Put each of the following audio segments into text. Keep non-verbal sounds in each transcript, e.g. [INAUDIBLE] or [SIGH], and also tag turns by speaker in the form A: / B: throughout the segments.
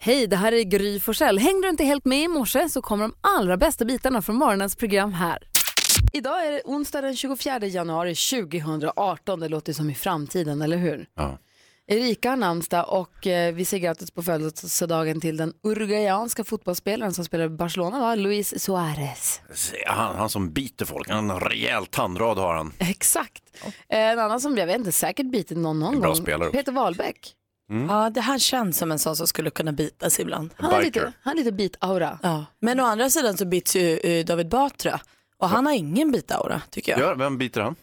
A: Hej, det här är Gry Forssell. Hängde du inte helt med i morse så kommer de allra bästa bitarna från morgonens program här. Idag är det onsdag den 24 januari 2018. Det låter som i framtiden, eller hur?
B: Ja.
A: Erika har namnsdag och eh, vi säger grattis på födelsedagen till den uruguayanska fotbollsspelaren som spelar i Barcelona, va? Luis Suarez.
B: Se, Han, han som biter folk, han har en rejäl tandrad har han.
A: Exakt. Eh, En annan som jag vet inte, säkert bitit någon någon
B: Bra
A: gång.
B: spelare också.
A: Peter Wahlbeck.
C: Ja, det här känns som en sån som skulle kunna bitas ibland.
A: Han har
B: Biker.
A: lite, han har lite bitaura.
C: Ja. Men å andra sidan så bits ju eh, David Batra och han har ingen bitaura tycker jag. Ja.
B: Ja, vem biter han?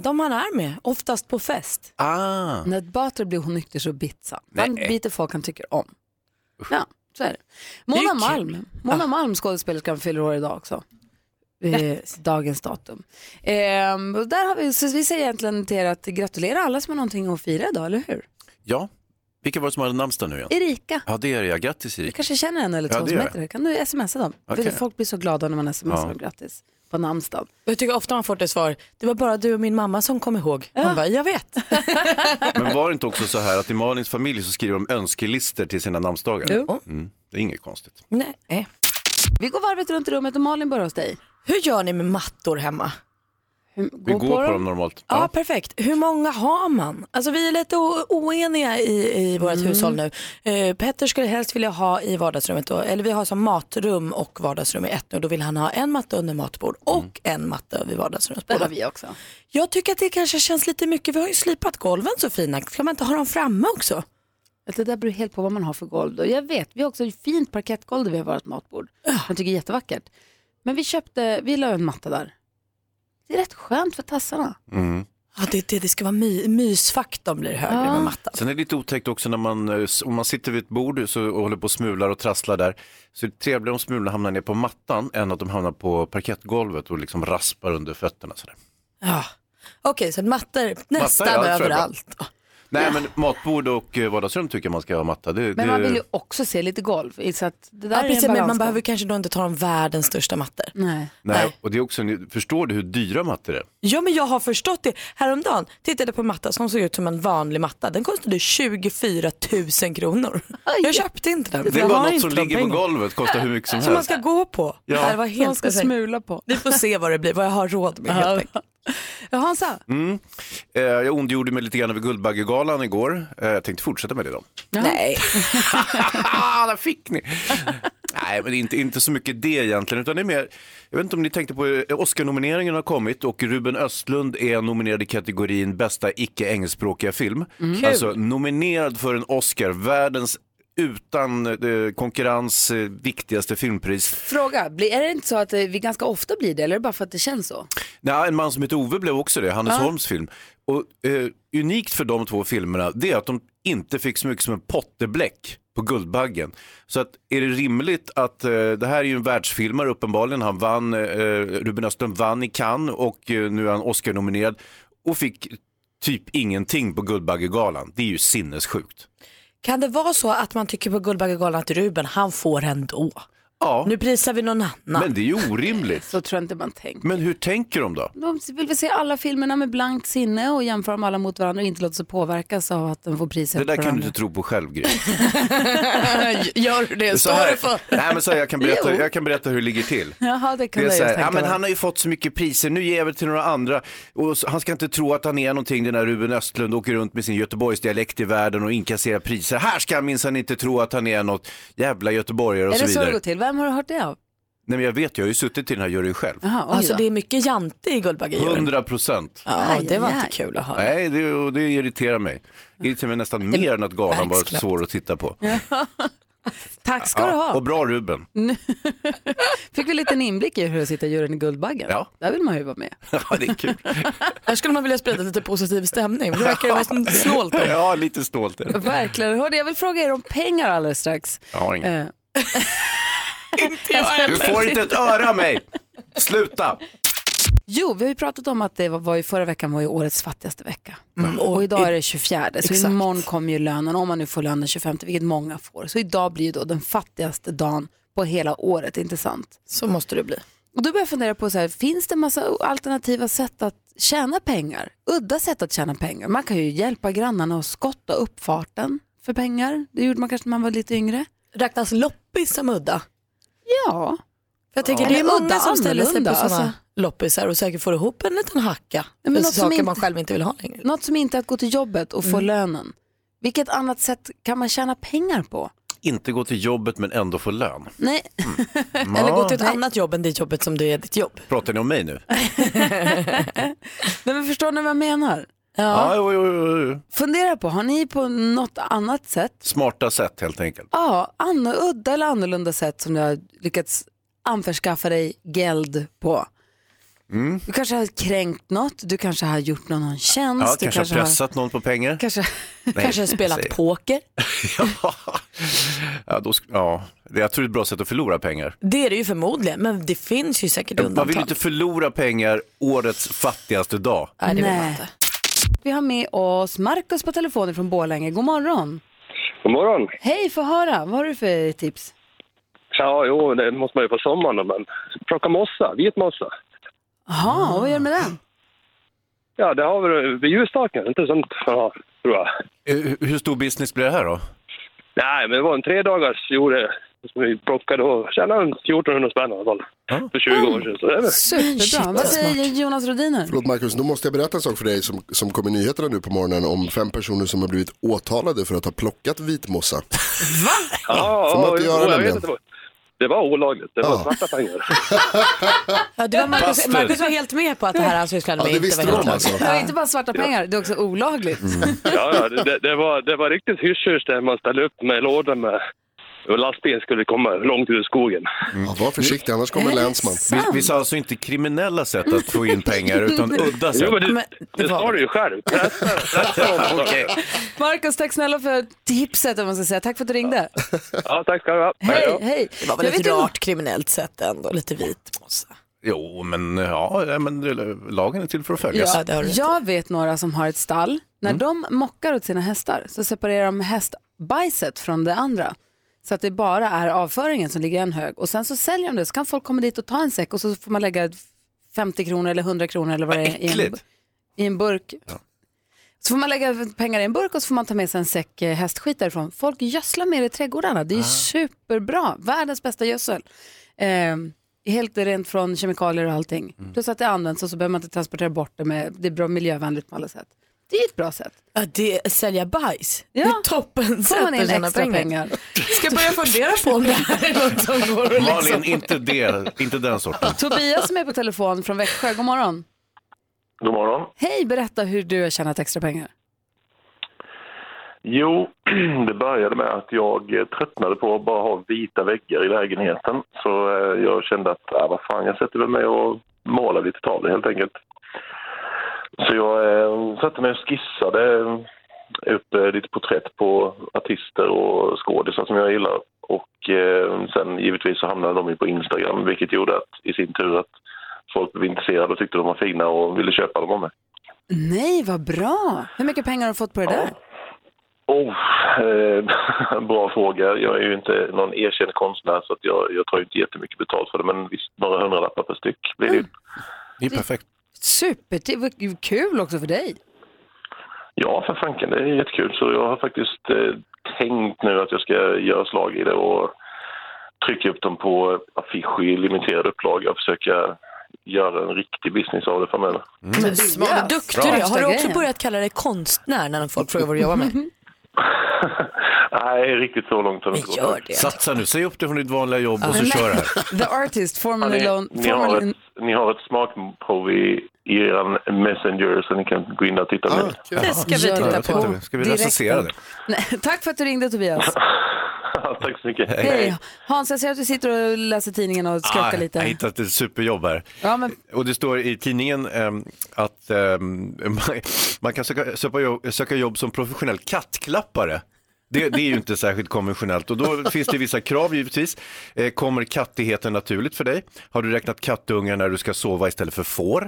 C: de han är med, oftast på fest.
B: Ah,
A: När Batra blir onykter så bits han. Han
B: Nej.
A: biter folk han tycker om. Ja, så är det. Mona
C: kul.
A: Malm, Mona
B: Ah.
A: Malm skådespelerskan fyller år idag också. Eh, dagens datum. Ehm, och där har vi, så vi säger egentligen till er att gratulera alla som har någonting att fira idag, eller hur?
B: ja. Vilka var det som hade namnsdag nu igen?
A: Erika,
B: Ja, det är det ja. Grattis
A: du [LAUGHS]
B: Erik.
A: kanske känner en eller
B: Ja,
A: två
B: det
A: som
B: gör
A: heter det. Kan du smsa dem?
B: Okej.
A: För folk blir så glada när man smsar
B: Ja.
A: dem grattis på namnsdagen.
C: Jag tycker ofta man får det svar, det var bara du och min mamma som kom ihåg. Man bara, jag vet.
B: Men var det inte också så här att i Malins familj så skriver de önskelister till sina namnsdagar?
C: Jo.
B: Mm, det är inget konstigt.
C: [LAUGHS] Nej.
A: Vi går varvet runt i rummet och Malin börjar hos dig.
C: Hur gör ni med mattor hemma?
A: Hur-
B: Vi går på dem normalt.
C: Ja, perfekt. Hur många har man? Alltså vi är lite o- oeniga i, i vårt
A: Mm.
C: hushåll nu. Eh, Petter skulle helst vilja ha i vardagsrummet, då, eller vi har som matrum och vardagsrum i ett nu. Då vill han ha en matta under matbord och
A: Mm.
C: en matta vid
A: Det har
C: vardagsrumsbordet.
A: vi också.
C: Jag tycker att det kanske känns lite mycket. Vi har ju slipat golven så fina. Ska man inte ha dem framme också?
A: Att Alltså, Det där beror helt på vad man har för golv. Då. Jag vet, vi har också ett fint parkettgolv där vi har vårt matbord. Jag tycker det är jättevackert. Men vi köpte, vi la en matta där. Det är rätt skönt för tassarna.
B: Mm.
C: Ja, det, det, det ska vara my, mysfaktorn blir högre
A: Ja.
C: med mattan.
B: Sen är det lite otäckt också när man, eh, s- om man sitter vid ett bord så, och håller på och smular och trasslar där. Så är det trevligare om smulorna hamnar ner på mattan än att de hamnar på parkettgolvet och liksom raspar under fötterna. Sådär.
C: Ja. Okej, så mattor nästan
B: ja, det tror jag är bra.
C: överallt.
B: Nej men matbord och eh, vardagsrum tycker jag man ska ha matta. Det,
A: Men
B: det...
A: man vill ju också se lite golv. Så att det där
C: Ja,
A: är
C: precis,
A: en
C: men man
A: balansgång.
C: behöver kanske då inte ta de världens största mattor.
A: Nej.
B: Nej,
C: Nej.
B: och det är också, en- förstår du hur dyra mattor är?
C: Ja men jag har förstått det. Häromdagen tittade jag på en matta som såg ut som en vanlig matta. Den kostade 24 000 kronor. Jag köpte inte den.
B: Det är
C: Jag har
B: bara något
C: inte
B: som
C: de
B: ligger på
C: pengarna.
B: golvet, kostar hur mycket som
C: Som man
B: helst.
C: ska gå på. Nej,
B: Ja.
C: Det var
A: Som man
C: helt
A: ska smula på.
C: Vi får se vad det blir, vad jag har råd med helt enkelt.
A: Hansa,
B: Eh, jag ondgjorde mig lite grann över Guldbaggegalan igår. Eh, jag tänkte fortsätta med det då.
C: Nej.
B: Ah, [LAUGHS] där fick ni! Nej, men det är inte, inte så mycket det egentligen, utan det är mer, jag vet inte om ni tänkte på, eh, Oscar-nomineringen har kommit och Ruben Östlund är nominerad i kategorin bästa icke engelskspråkiga film. Alltså nominerad för en Oscar, världens utan eh, konkurrens eh, viktigaste filmpris.
A: fråga. Blir- Är det inte så att eh, vi ganska ofta blir det eller är det bara för att det känns så?
B: Nej, en man som heter Ove blev också det, Hannes Holms film. Och eh, unikt för de två filmerna, det är att de inte fick så mycket som en pottebläck på Guldbaggen. Så att, är det rimligt att, eh, det här är ju en världsfilmare uppenbarligen, han vann, eh, Ruben Östlund vann i Cannes och eh, nu är han Oscar-nominerad och fick typ ingenting på Guldbaggegalan. Det är ju sinnessjukt.
C: Kan det vara så att man tycker på Guldbaggegalan att Ruben, han får ändå.
B: Ja,
C: Nu prisar vi någon annan.
B: men det är ju orimligt.
A: Så tror jag inte man tänker.
B: Men hur tänker de då?
A: De vill väl se alla filmerna med blankt sinne och jämföra dem alla mot varandra och inte låta sig påverkas av att de får priset
B: Det där
A: för
B: kan du
A: varandra.
B: inte tro på själv, Gry.
A: [LAUGHS] Gör du det?
B: Så här, nej, men så här, jag, kan berätta, jag kan berätta hur det ligger till.
A: Jaha, det kan
B: Det är
A: jag just
B: så här, ja,
A: tänka
B: men
A: mig.
B: han har ju fått så mycket priser, nu ger jag väl till några andra. Och så, han ska inte tro att han är någonting, den där Ruben Östlund åker runt med sin Göteborgsdialekt i världen och inkasserar priser. Här ska han minsann inte tro att han är något jävla göteborgare och
A: Är
B: så
A: det så det
B: vidare.
A: går till? Vem har du hört det av?
B: Nej men jag vet, jag har ju suttit i den här juryn själv.
A: Jaha, oj
C: alltså
A: då.
C: det är mycket jante i Guldbaggejuryn.
B: 100 procent.
C: Ja, det var
A: Aj, aj,
C: inte
A: aj.
C: kul att höra.
B: Nej, det, och det irriterar mig. Det irriterar mig nästan mer än att galan var
C: verkskläpp.
B: svår att titta på.
A: [LAUGHS] Tack ska du ha. Mm.
B: och bra Ruben.
A: Fick vi lite en inblick i hur det sitter i juryn i Guldbaggen?
B: Ja.
A: Där vill man ju vara med.
B: [LAUGHS] Ja, det
A: [LAUGHS]
B: är kul.
C: Här skulle man vilja sprida lite positiv stämning. Det verkar vara som [LAUGHS] snålt. då.
B: Ja, lite stolt. är det.
A: Verkligen. Hörde, jag vill fråga er om pengar alldeles strax.
B: Jag har inget.
A: Eh,
B: Du får inte ett öra av mig. Sluta.
A: Jo, vi har ju pratat om att det var, var ju förra veckan var ju årets fattigaste vecka.
B: Mm.
A: Och, idag är det 24, så
C: Exakt.
A: imorgon kommer ju lönen, om man nu får lönen 25, vilket många får. Så idag blir ju då den fattigaste dagen på hela året, inte sant?
C: Så måste det bli.
A: Och då börjar jag fundera på, så här, finns det massa alternativa sätt att tjäna pengar? Udda sätt att tjäna pengar. Man kan ju hjälpa grannarna att skotta uppfarten för pengar. Det gjorde man kanske när man var lite yngre.
C: räknas loppis som udda?
A: Ja.
C: För jag tänker
A: Ja.
C: det är
A: Eller udda,
C: många som ställer sig på
A: annorlunda,
C: sådana
A: alltså.
C: loppisar och säkert får ihop en liten hacka
A: men
C: för
A: något som
C: saker
A: inte-
C: man själv inte vill ha längre.
A: Något som inte är att gå till jobbet och få
C: Mm.
A: lönen. Vilket annat sätt kan man tjäna pengar på?
B: Inte gå till jobbet men ändå få lön.
A: Nej,
C: [LAUGHS]
A: [LAUGHS]
C: Eller gå till ett
A: Nej.
C: annat jobb än det jobbet som du är ditt jobb.
B: Pratar ni om mig nu?
A: Nej men förstår ni vad jag menar?
B: Ja, jo, jo, jo, jo.
A: Fundera på, har ni på något annat sätt,
B: Smarta sätt helt enkelt.
A: ja, an- udda eller annorlunda sätt som du har lyckats anförskaffa dig geld på? Du kanske har kränkt något, du kanske har gjort någon en tjänst.
B: Ja,
A: du
B: kanske har pressat någon på pengar.
A: kanske, [LAUGHS]
B: Nej,
C: Kanske spelat
B: säg.
C: poker.
B: ja, då, sk- ja, det- jag tror det är ett bra sätt att förlora pengar.
C: Det är det ju förmodligen, men det finns ju säkert
B: Man vill ju
C: undantag.
B: inte förlora pengar årets fattigaste dag.
C: Nej, det vill man
A: Nej.
C: inte.
A: vi har med oss Markus på telefonen från Borlänge. God morgon!
D: God morgon.
A: Hej, få höra, vad har du för tips?
D: Ja, jo, det måste man ju på sommaren då, men plocka mossa, vit mossa.
A: Jaha, vad gör du med den?
D: Ja, det har vi vid ljusstaken, inte sånt ja, tror jag.
B: Eh, hu- Hur stor business blir det här då?
D: Nej, men det var en tre dagars gjorde som vi plockade och tjänade en 1400 spänn i alla fall.
B: Ja.
D: För 20 år sedan. Så det är väl.
A: Superbra, vad
C: vad
A: säger Jonas Rodiner?
E: Förlåt Marcus, nu måste jag berätta en sak för dig som, som kom i nyheterna nu på morgonen om fem personer som har blivit åtalade för att ha plockat vitmossa.
D: Ja,
E: Får man inte
D: ja,
E: göra
D: ja, jag
E: nämligen?
D: vet inte vad- det var olagligt, det var
E: Ja.
D: svarta pengar.
C: Ja, det var Marcus,
B: Bastard.
C: Marcus var helt med på att det här han sysslade
E: Ja,
C: med
E: det
C: inte var
E: visste de
C: helt lagligt.
E: alltså.
A: Det var inte bara svarta pengar, det är också olagligt.
D: Ja, ja, det, det, var, det var riktigt hysch där man ställde upp med lådor med och lastbilen skulle komma långt ut i skogen.
E: Ja, var försiktig, annars kommer länsman.
B: Vi,
A: [LAUGHS]
B: vi sa alltså inte kriminella sätt att få in pengar
C: [LAUGHS]
B: utan udda
E: Alltså,
B: sätt.
D: Jo, men det,
C: Men
D: det,
C: det var-
D: sa du ju själv. Pressa, pressa dem.
E: [LAUGHS]
D: sa du.
B: Okej.
A: Markus, tack snälla för tipset om man ska säga. Tack för att du ringde.
D: Ja, tack ska du ha. Hej
A: Hej,
D: då.
A: hej.
C: Det var väl
A: Jag vet
C: ett
A: inte-
C: rart kriminellt sätt ändå, lite vit mossa.
B: Jo, men ja, ja, men det- lagen är till för att följas.
C: Ja, det har du rätt Mm.
A: Jag vet några som har ett stall. När de mockar åt sina hästar så separerar de hästbajset från det andra. Så att det bara är avföringen som ligger i en hög. Och sen så säljer de det så kan folk komma dit och ta en säck och så får man lägga 50 kronor eller 100 kronor eller vad det är i en,
B: äckligt.
A: i en burk. Så får man lägga pengar i en burk och så får man ta med sig en säck eh, hästskit därifrån. Folk gödslar med det i trädgårdarna.
C: Ah.
A: Det är superbra. Världens bästa gödsel. Ehm, helt rent från kemikalier och allting.
B: Mm.
A: Plus att det används och så behöver man inte transportera bort det. Med, det är bra miljövänligt på alla sätt. Det är ett bra sätt.
C: Ja, det, sälja bajs,
A: Ja.
C: det är toppen
A: Får
C: sätt
A: man in
C: att tjäna
A: extra pengar.
C: pengar. Ska jag börja fundera på om det här är något som går att
B: Malin,
C: liksom...
B: inte, det, inte den sorten.
A: [LAUGHS] Tobias som är på telefon från Växjö, god morgon.
F: God morgon.
A: Hej, berätta hur du har tjänat extra pengar.
F: Jo, [CLEARS THROAT] det började med att jag eh, tröttnade på att bara ha vita väggar i lägenheten. Så eh, jag kände att, ah, vad fan, jag sätter väl mig och målar lite tavlor helt enkelt. Så jag eh, satte mig och skissade eh, upp eh, lite porträtt på artister och skådisar som jag gillar. Och eh, sen givetvis så hamnade de ju på Instagram, vilket gjorde att i sin tur att folk blev intresserade och tyckte de var fina och ville köpa dem av mig.
A: Nej, vad bra. Hur mycket pengar har du fått på det där?
F: Oh, eh, [LAUGHS] bra fråga. Jag är ju inte någon erkänd konstnär så att jag, jag tar ju inte jättemycket betalt för det. Men visst, några hundralappar per styck blir det
A: Mm.
F: ju.
B: Det är perfekt.
A: Super, det var kul också för dig.
F: Ja, för fanken, det är jättekul. Så jag har faktiskt eh, tänkt nu att jag ska göra slag i det och trycka upp dem på eh, affisch i limiterad upplaga och försöka göra en riktig business av det framöver.
C: Men smart och duktig du är. Har
A: Bra.
C: du
A: Mm-hmm.
C: också börjat kalla dig konstnär när folk frågar vad du jobbar med?
F: Nej, riktigt så långt har det inte
C: Men
F: gått.
C: gör det.
B: Satsa nu, säg upp dig från ditt vanliga jobb och så kör här.
A: The artist,
F: Ja,
A: formerly
F: Ni,
A: known...
F: ni, har
A: formerly-
F: ett, ni har ett smakprov i i er messenger så ni kan gå in och titta.
E: Ah,
F: Ah.
E: kul.
C: Det ska vi
A: Gör
C: titta
A: det.
C: på.
B: Titta, Ska vi
A: Direkt.
B: recensera det?
A: Nej, tack för att du ringde Tobias.
F: [LAUGHS] Tack så mycket.
A: Hej. Hans, jag ser att du sitter och läser tidningen och skrattar
B: Ah, Jag har
A: lite.
B: hittat ett superjobb här.
A: Ja, men-
B: Och det står i tidningen ehm, att ehm, [LAUGHS] man- man kan söka, söka, jobb, söka jobb som professionell kattklappare. Det, det är ju inte särskilt konventionellt
A: [LAUGHS]
B: och då finns det vissa krav givetvis. Eh, kommer kattigheten naturligt för dig? Har du räknat kattungar när du ska sova istället för får?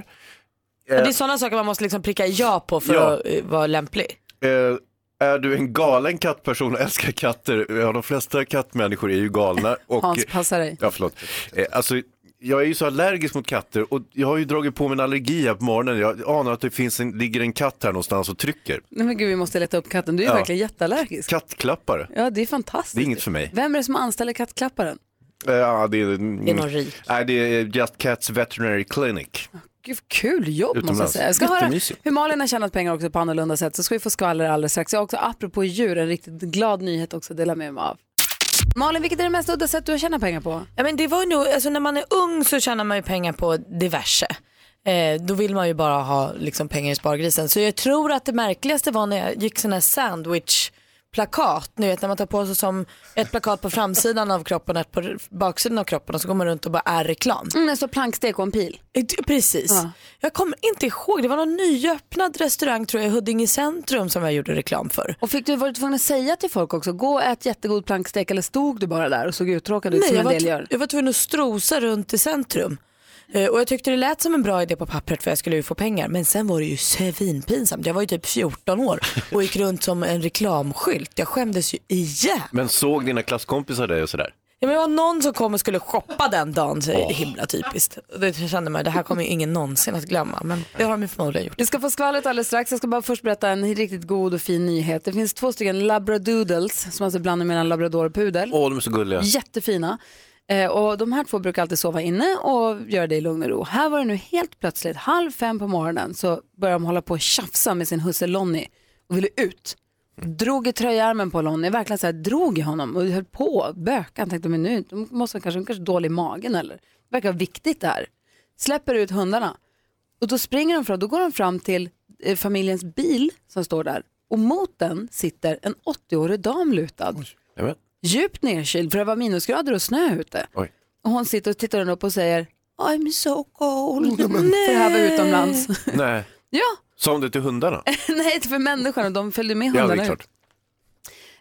C: Men Det är sådana saker man måste liksom pricka ja på för
B: Ja.
C: att eh, vara lämplig.
B: Eh, är du en galen kattperson och älskar katter? Ja, de flesta kattmänniskor är ju galna. Och,
A: Hans, passa dig.
B: Ja, förlåt. Eh, alltså, jag är ju så allergisk mot katter och jag har ju dragit på mig en allergi här på morgonen. Jag anar att det finns en, ligger en katt här någonstans och trycker.
A: Nej men gud, vi måste leta upp katten. Du är
B: Ja.
A: verkligen jätteallergisk.
B: Kattklappare.
A: Ja, det är fantastiskt.
B: Det är inget för mig.
A: Vem är det som anställer kattklapparen?
B: Eh, Ja, det, är, mm.
C: Det är någon rik.
B: Nej, det är Just Cats Veterinary Clinic.
A: Gud, kul jobb måste jag
B: Utomlands.
A: säga. Jag ska höra
B: Jättemysigt.
A: hur Malin har tjänat pengar också på annorlunda sätt så ska vi få skvaller alldeles strax. Jag har också apropå djur en riktigt glad nyhet också att dela med mig av. Malin, vilket är det mest udda sätt du har tjänat pengar på?
C: Ja, men det var ju nog, alltså när man är ung så tjänar man ju pengar på diverse. Eh, då vill man ju bara ha liksom, pengar i spargrisen. Så jag tror att det märkligaste var när jag gick sådana här sandwich plakat, ni vet när man tar på sig som ett plakat på framsidan av kroppen och ett på baksidan av kroppen och så går man runt och bara är reklam.
A: Mm, det står plankstek och en pil.
C: Eh, d- Precis.
A: Ja.
C: Jag kommer inte ihåg, det var någon nyöppnad restaurang tror jag i Huddinge centrum som jag gjorde reklam för.
A: Och fick du, var du tvungen att säga till folk också, gå och ät jättegod plankstek eller stod du bara där och såg uttråkad ut
C: Nej,
A: som
C: jag
A: en
C: var,
A: del
C: tv-
A: gör?
C: jag var tvungen att strosa runt i centrum. Eh, Och jag tyckte det lät som en bra idé på pappret för jag skulle ju få pengar. Men sen var det ju svinpinsamt. Jag var ju typ 14 år och gick runt som en reklamskylt. Jag skämdes ju ihjäl.
B: Men såg dina klasskompisar dig och sådär?
C: Ja, men det var någon som kom och skulle shoppa den dagen. Så det är himla typiskt. Och Det kände man, det här kommer ju ingen någonsin att glömma. Men det har de ju förmodligen gjort.
A: Vi ska få skvallret alldeles strax. Jag ska bara först berätta en riktigt god och fin nyhet. Det finns två stycken labradoodles som alltså blandar mellan labrador och pudel.
B: Åh, de är så gulliga.
A: Jättefina. Eh, och de här två brukar alltid sova inne och göra det i lugn och ro. Här var det nu helt plötsligt halv fem på morgonen så började de hålla på och tjafsa med sin husse Lonny och ville ut. Drog i tröjärmen på Lonny, verkligen så här, drog i honom och höll på böka. Han tänkte, men nu de måste de kanske, de kanske är dålig i magen eller? Det verkar viktigt det här. Släpper ut hundarna. Och då springer de fram, då går de fram till eh, familjens bil som står där och mot den sitter en 80-årig dam lutad
B: Jajamän.
A: djupt nedkyld för det var minusgrader och snö ute.
B: Oj.
A: Och hon sitter och tittar upp och säger I'm so cold.
G: Ja, men-
A: För det här var utomlands.
B: Nej.
A: ja,
B: Sa de det till hundarna?
A: [LAUGHS] nej det är för människorna, de följde med
B: Ja, det
A: hundarna
B: är
A: ut.
B: klart.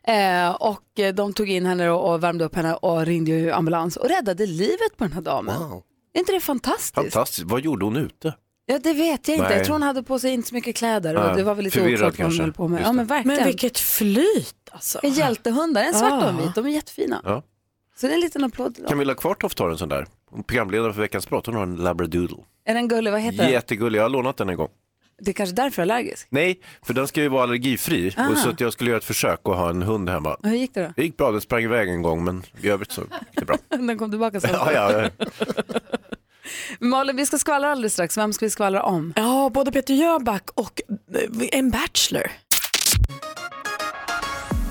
A: Eh, och eh, de tog in henne och, och värmde upp henne och ringde ju ambulans och räddade livet på den här damen.
G: Wow.
A: Är inte det fantastiskt?
B: Fantastiskt. Vad gjorde hon ute?
A: Ja, det vet jag inte.
B: Nej.
A: Jag tror hon hade på sig inte så mycket kläder och
B: Nej,
A: det var väl lite
B: förvirrad
A: oklart vad hon
B: kanske.
A: höll på med.
B: Just
A: Ja,
B: det.
A: men verkligen.
C: Men vilket flyt alltså.
A: En Hjältehundar, en svart och en
C: Ah.
A: vit. De är jättefina.
B: Ja.
A: Så det är en liten applåd till dem.
B: Camilla Kvartoft har en sån där. Hon är Programledare för Veckans Prat. Hon har en labradoodle.
A: Är den gullig? Vad heter den?
B: Jättegullig. Jag har lånat den en gång.
A: Det är kanske därför jag är allergisk.
B: Nej, för den ska ju vara allergifri.
A: Aha.
B: Och så att jag skulle göra ett försök och ha en hund hemma.
A: Och Hur gick det då?
B: Det gick bra, den sprang iväg en gång men i övrigt så gick
A: [LAUGHS]
B: det bra.
A: Den kom tillbaka sen.
B: ja, ja, ja.
A: Malin, vi ska skvallra alldeles strax. Vem ska vi skvallra om?
C: Ja, både Peter Jöback och eh, en bachelor.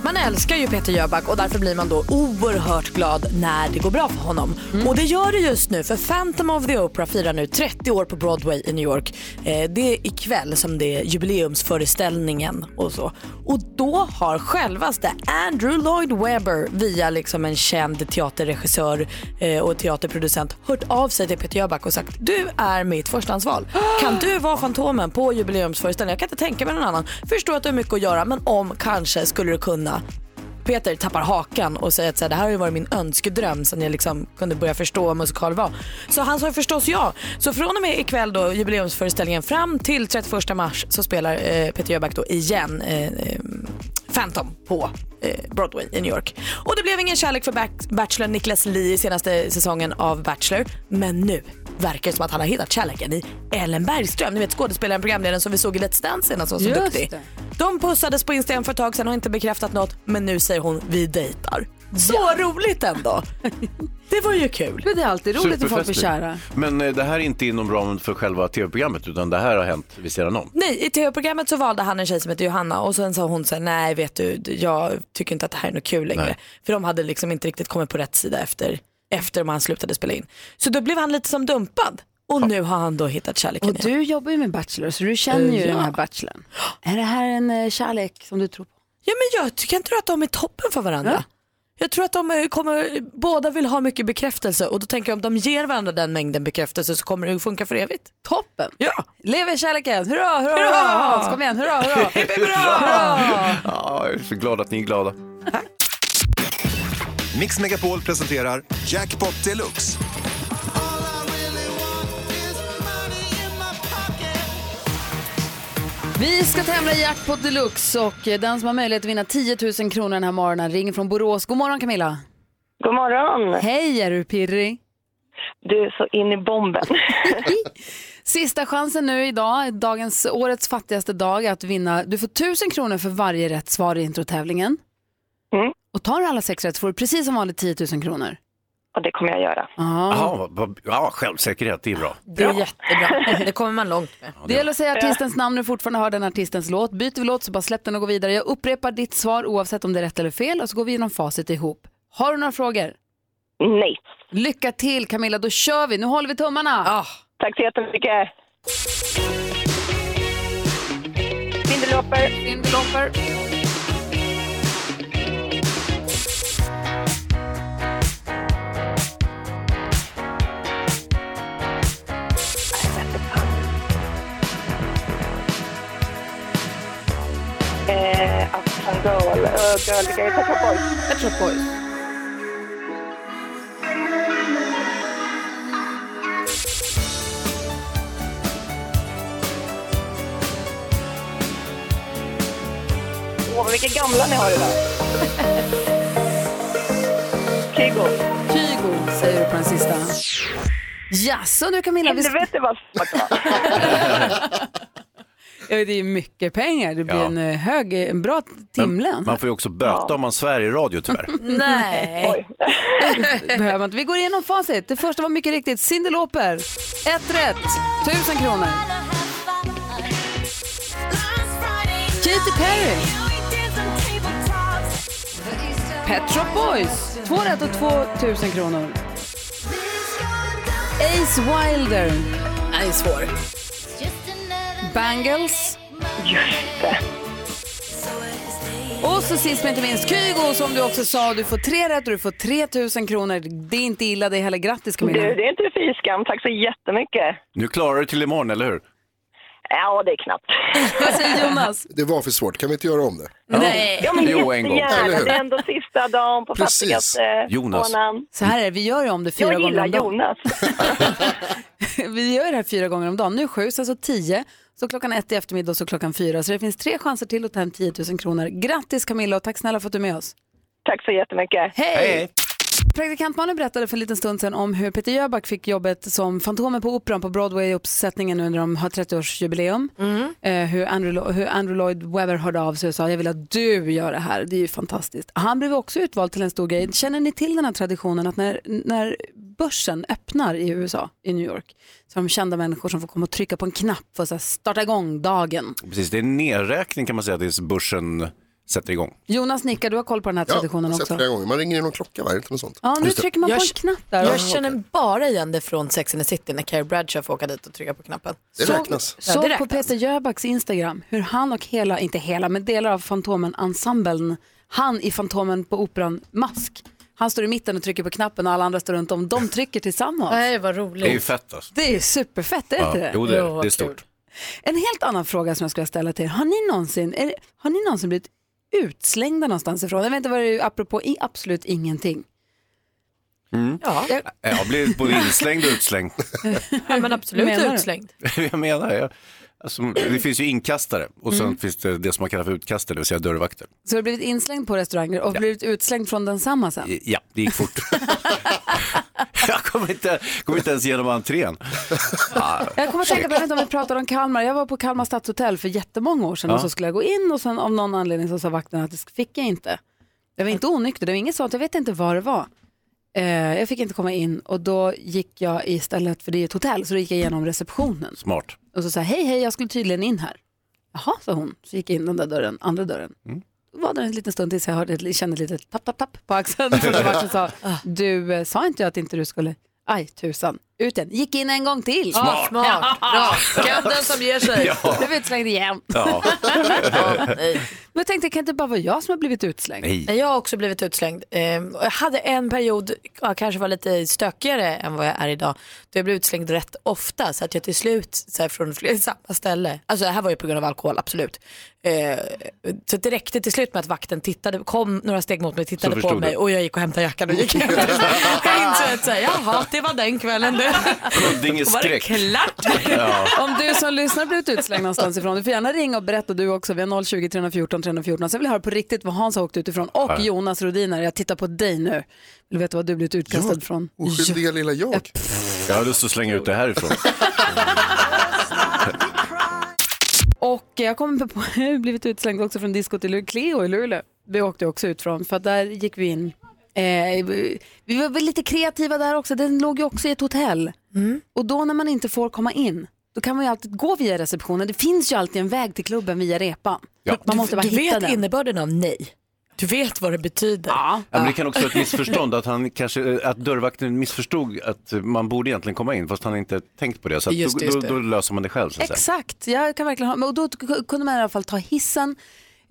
C: Man älskar ju Peter Jöback och därför blir man då oerhört glad när det går bra för honom. Och det gör det just nu för Phantom of the Opera firar nu 30 år på Broadway i New York. Eh, det är ikväll som det är jubileumsföreställningen och så. Och då har självaste Andrew Lloyd Webber via liksom en känd teaterregissör eh, och teaterproducent hört av sig till Peter Jöback och sagt du är mitt förstahandsval. Kan du vara Fantomen på jubileumsföreställningen? Jag kan inte tänka mig någon annan. Förstår att du har mycket att göra men om kanske skulle du kunna Peter tappar hakan och säger att så här, det här har ju varit min önskedröm sen jag liksom kunde börja förstå vad musikal var. Så han sa förstås ja. Så från och med ikväll då, jubileumsföreställningen, fram till 31 mars så spelar eh, Peter Jöback då igen eh, eh, Phantom på eh, Broadway i New York. Och det blev ingen kärlek för back- Bachelor Niklas Lee i senaste säsongen av Bachelor. Men nu verkar det som att han har hittat kärleken i Ellen Bergström, ni vet skådespelaren, programledaren som vi såg i Let's Dance senast som var så
A: Just
C: duktig.
A: det.
C: De pussades på Instagram för ett tag sedan och har inte bekräftat något men nu säger hon vi dejtar. Så
A: [LAUGHS]
C: roligt ändå. Det var ju kul.
A: Men det är alltid roligt att folk blir
B: Superfestligt.
A: kära.
B: Men eh, det här är inte inom ramen för själva tv-programmet utan det här har hänt vid sidan om.
C: Nej, i tv-programmet så valde han en tjej som heter Johanna och sen sa hon så här, nej vet du, jag tycker inte att det här är något kul längre.
B: Nej.
C: För de hade liksom inte riktigt kommit på rätt sida efter, efter man slutade spela in. Så då blev han lite som dumpad och nu har han då hittat kärleken
A: Och
C: igen.
A: du jobbar ju med Bachelor, så du känner ju
C: Eh, ja.
A: den här Bachelorn. Är det här en eh, kärlek som du tror på?
C: Ja men jag tycker inte att de är toppen för varandra. Jag tror att de eh, kommer, båda vill ha mycket bekräftelse och då tänker jag om de ger varandra den mängden bekräftelse så kommer det ju funka för evigt.
A: Toppen!
C: Ja.
A: Lever kärleken! Hurra, hurra, hurra! Hans, kom igen, hurra, hurra!
B: Ja, jag är så glad att ni är glada.
H: Mix Megapol presenterar Jackpot Deluxe.
A: Vi ska tävla i Jackpot Deluxe och eh, den som har möjlighet att vinna 10 000 kronor den här morgonen ringer från Borås. God morgon Camilla!
I: God morgon.
A: Hej, är du pirrig?
J: Du är så in i
A: [LAUGHS]
J: bomben.
A: Sista chansen nu idag, dagens, årets fattigaste dag, att vinna. Du får 1000 kronor för varje rätt svar i introtävlingen.
J: Mm.
A: Och tar du alla sex rätt får du precis som vanligt 10 000 kronor.
J: Och det kommer jag göra.
A: Ja.
B: Jaha, vad- vad- ja, självsäkerhet, det är bra.
C: Det är jättebra. Det kommer man långt med.
A: Det gäller att säga artistens namn när du fortfarande hör den artistens låt. Byter vi låt så bara släpp den och gå vidare. Jag upprepar ditt svar oavsett om det är rätt eller fel och så går vi igenom facit ihop. Har du några frågor?
J: Nej.
A: Lycka till Camilla, då kör vi. Nu håller vi tummarna.
C: Ah,
J: Tack så jättemycket. Vindelhopper.
A: Spindelopper.
J: Eh, Uptown Girl. Uh, girl, girl, Pet Shop Boys.
A: Pet Shop Boys.
J: Åh, vad vilka gamla ni har idag. Kygo.
A: Kygo säger du på den sista. Jaså du Camilla, vi...
J: Helvete vad svårt det var.
A: Ja, det är mycket pengar. Det blir
B: Ja.
A: en eh, hög, en bra timlön.
B: Man får ju också böta om man svär i radio tyvärr.
C: nej.
A: [LAUGHS]
J: Oj.
A: [LAUGHS] Behöver man inte. Vi går igenom facit. Det första var mycket riktigt Cindeloper. Ett rätt, tusen kronor. Katy Perry. Pet Shop Boys. Två rätt och två tusen kronor. Ace Wilder. Nej, svår. Bangles.
J: Just det.
A: Och så sist men inte minst Kygo som du också sa. Du får tre rätt och du får 3000 kronor. Det är inte illa det heller. Grattis Camilla.
J: Du, det är inte fy skam. Tack så jättemycket.
B: Nu klarar du till imorgon, eller hur?
J: Ja, det är
K: [LAUGHS]
J: knappt.
A: Vad säger Jonas?
E: Det var för svårt, kan vi inte göra om det?
C: nej.
J: Ja, men
B: Jo, en gång.
E: Eller
J: jättegärna.
E: hur?
J: Det är ändå sista dagen på
E: Precis.
J: fattigaste
B: Jonas.
J: månaden.
A: Så här är det, vi gör ju om det fyra
J: Jag
A: gånger
J: gillar
A: om dagen.
J: Jonas. [LAUGHS]
A: [LAUGHS] Vi gör det här fyra gånger om dagen. Nu sju, sen så tio, så klockan ett i eftermiddag och så klockan fyra. Så det finns tre chanser till att ta hem 10 000 kronor. Grattis Camilla och tack snälla för att du är med oss.
J: Tack så jättemycket.
A: Hej! Praktikantmannen berättade för en liten stund sedan om hur Peter Jöback fick jobbet som Fantomen på Operan på Broadway i uppsättningen nu när de har 30-årsjubileum.
C: Mm.
A: Eh, hur, Andrew, Lo- hur Andrew Lloyd Webber hörde av sig och sa jag vill att du gör det här, det är ju fantastiskt. Han blev också utvald till en stor grej. Känner ni till den här traditionen att när, när börsen öppnar i USA, i New York, så har de kända människor som får komma och trycka på en knapp för att så här, starta igång dagen.
B: Precis, det är en nedräkning kan man säga tills börsen sätter igång.
A: Jonas nickar, du har koll på den här
E: Ja,
A: traditionen
E: jag har sett
A: också.
E: flera gånger. Man ringer in någon klocka, va? Är det Inte något sånt.
A: Ja, nu
E: Just det.
A: trycker man
C: Jag
A: på en
C: k-
A: känner, knapp där.
C: Jag känner bara igen det från Sex and the City när Carrie Bradshaw får åka dit och trycka på knappen.
E: Det
A: Såg-
E: räknas.
C: Ja,
A: Såg
C: det
A: på
C: räknas.
A: Peter Jöbacks Instagram hur han och hela, inte hela, men delar av Fantomen-ensemblen, han i Fantomen på Operan Mask, han står i mitten och trycker på knappen och alla andra står runt om, de trycker tillsammans.
C: Nej, vad
B: Det är ju
C: roligt.
B: fett alltså.
A: Det är superfett, är det
B: Ja,
A: inte det?
B: jo, det är,
C: Jo,
B: det.
C: vad
B: det är
C: kul.
B: stort.
A: En helt annan fråga som jag skulle ställa till er, har ni någonsin, är, har ni någonsin blivit utslängda någonstans ifrån? Jag vet inte vad det är, apropå i absolut ingenting.
C: Ja,
B: Jag Eh, blir både inslängd och utslängd. [LAUGHS]
C: [LAUGHS] men absolut
A: Menar du?
C: utslängd.
B: jag menar, jag, alltså, det finns ju inkastare och sen finns det det som man kallar för utkastare, det vill säga dörrvakter.
A: Så du har blivit inslängd på restauranger och blivit utslängd från densamma sen?
B: I- Ja, det gick fort. jag kom inte, kom inte ens igenom entrén. Ah, Ja,
A: Jag kommer att tänka på, jag vet inte om vi pratade om Kalmar, jag var på Kalmar stadshotell för jättemånga år sedan och
B: Ja.
A: så skulle jag gå in och sen av någon anledning så sa vakten att det fick jag inte. Jag var inte onykter, det var inget sånt, jag vet inte vad det var. Eh, jag fick inte komma in och då gick jag istället, för det är ett hotell, så då gick jag igenom receptionen.
B: smart.
A: Och så sa jag, hej hej, jag skulle tydligen in här. Jaha, sa hon, så gick jag in den där dörren, andra dörren. Var där en liten stund tills jag hörde, ett- kände ett litet tapp, tapp, tapp på axeln. Och så vakten sa, du eh, sa inte jag att inte du skulle, aj tusan, ut igen, gick in en gång till.
C: Smart. [LAUGHS] Smart. Bra. Katten som ger sig.
A: Du blev utslängd igen.
B: Ja,
C: Ja, nej.
A: Men jag tänkte, kan det inte bara vara jag som har blivit utslängd?
B: nej.
C: Nej, Jag har också blivit utslängd. Eh, och Jag hade en period, jag kanske var lite stökigare än vad jag är idag, då jag blev utslängd rätt ofta så att jag till slut så här, från fler, [LAUGHS] samma ställe, alltså det här var ju på grund av alkohol, absolut. Eh, Så att det räckte till slut med att vakten tittade, kom några steg mot mig, tittade på
B: förstod
C: mig
B: du.
C: och jag gick och hämtade jackan och gick hem. jag insåg att så här, jaha, det var den kvällen det.
B: Huddinge
C: Var det
B: streck.
C: klart?
B: Ja.
A: Om du som lyssnar blivit utslängd någonstans ifrån, du får gärna ringa och berätta du också. Vi har 020 314 314. Så jag vill höra på riktigt var Hans har åkt utifrån och
B: Ja.
A: Jonas Rodiner. Jag tittar på dig nu. Vill du veta vad du blivit utkastad från?
E: Oskyldiga lilla jag.
B: Jag har lust att slänga ut det härifrån.
A: Och jag kommer på, [LAUGHS] jag har blivit utslängd också från diskot i Luleå, Cleo i Luleå. Vi åkte också ut från, för att där gick vi in. Eh, vi var väl lite kreativa där också, den låg ju också i ett hotell.
C: Mm.
A: Och då när man inte får komma in, då kan man ju alltid gå via receptionen. Det finns ju alltid en väg till klubben via repan.
B: Ja.
A: Man måste bara
C: Du
A: hitta
C: vet
A: den.
C: innebörden av nej. Du vet vad det betyder.
A: Ja.
B: Ja, men det kan också vara ett missförstånd, att, han kanske, eh, att dörrvakten missförstod att man borde egentligen komma in, fast han inte tänkt på det. Så att
C: Just det,
B: då,
C: just
B: då,
C: det.
B: då löser man det själv. Så att säga.
A: Exakt, jag kan verkligen ha, men och då k- kunde man i alla fall ta hissen.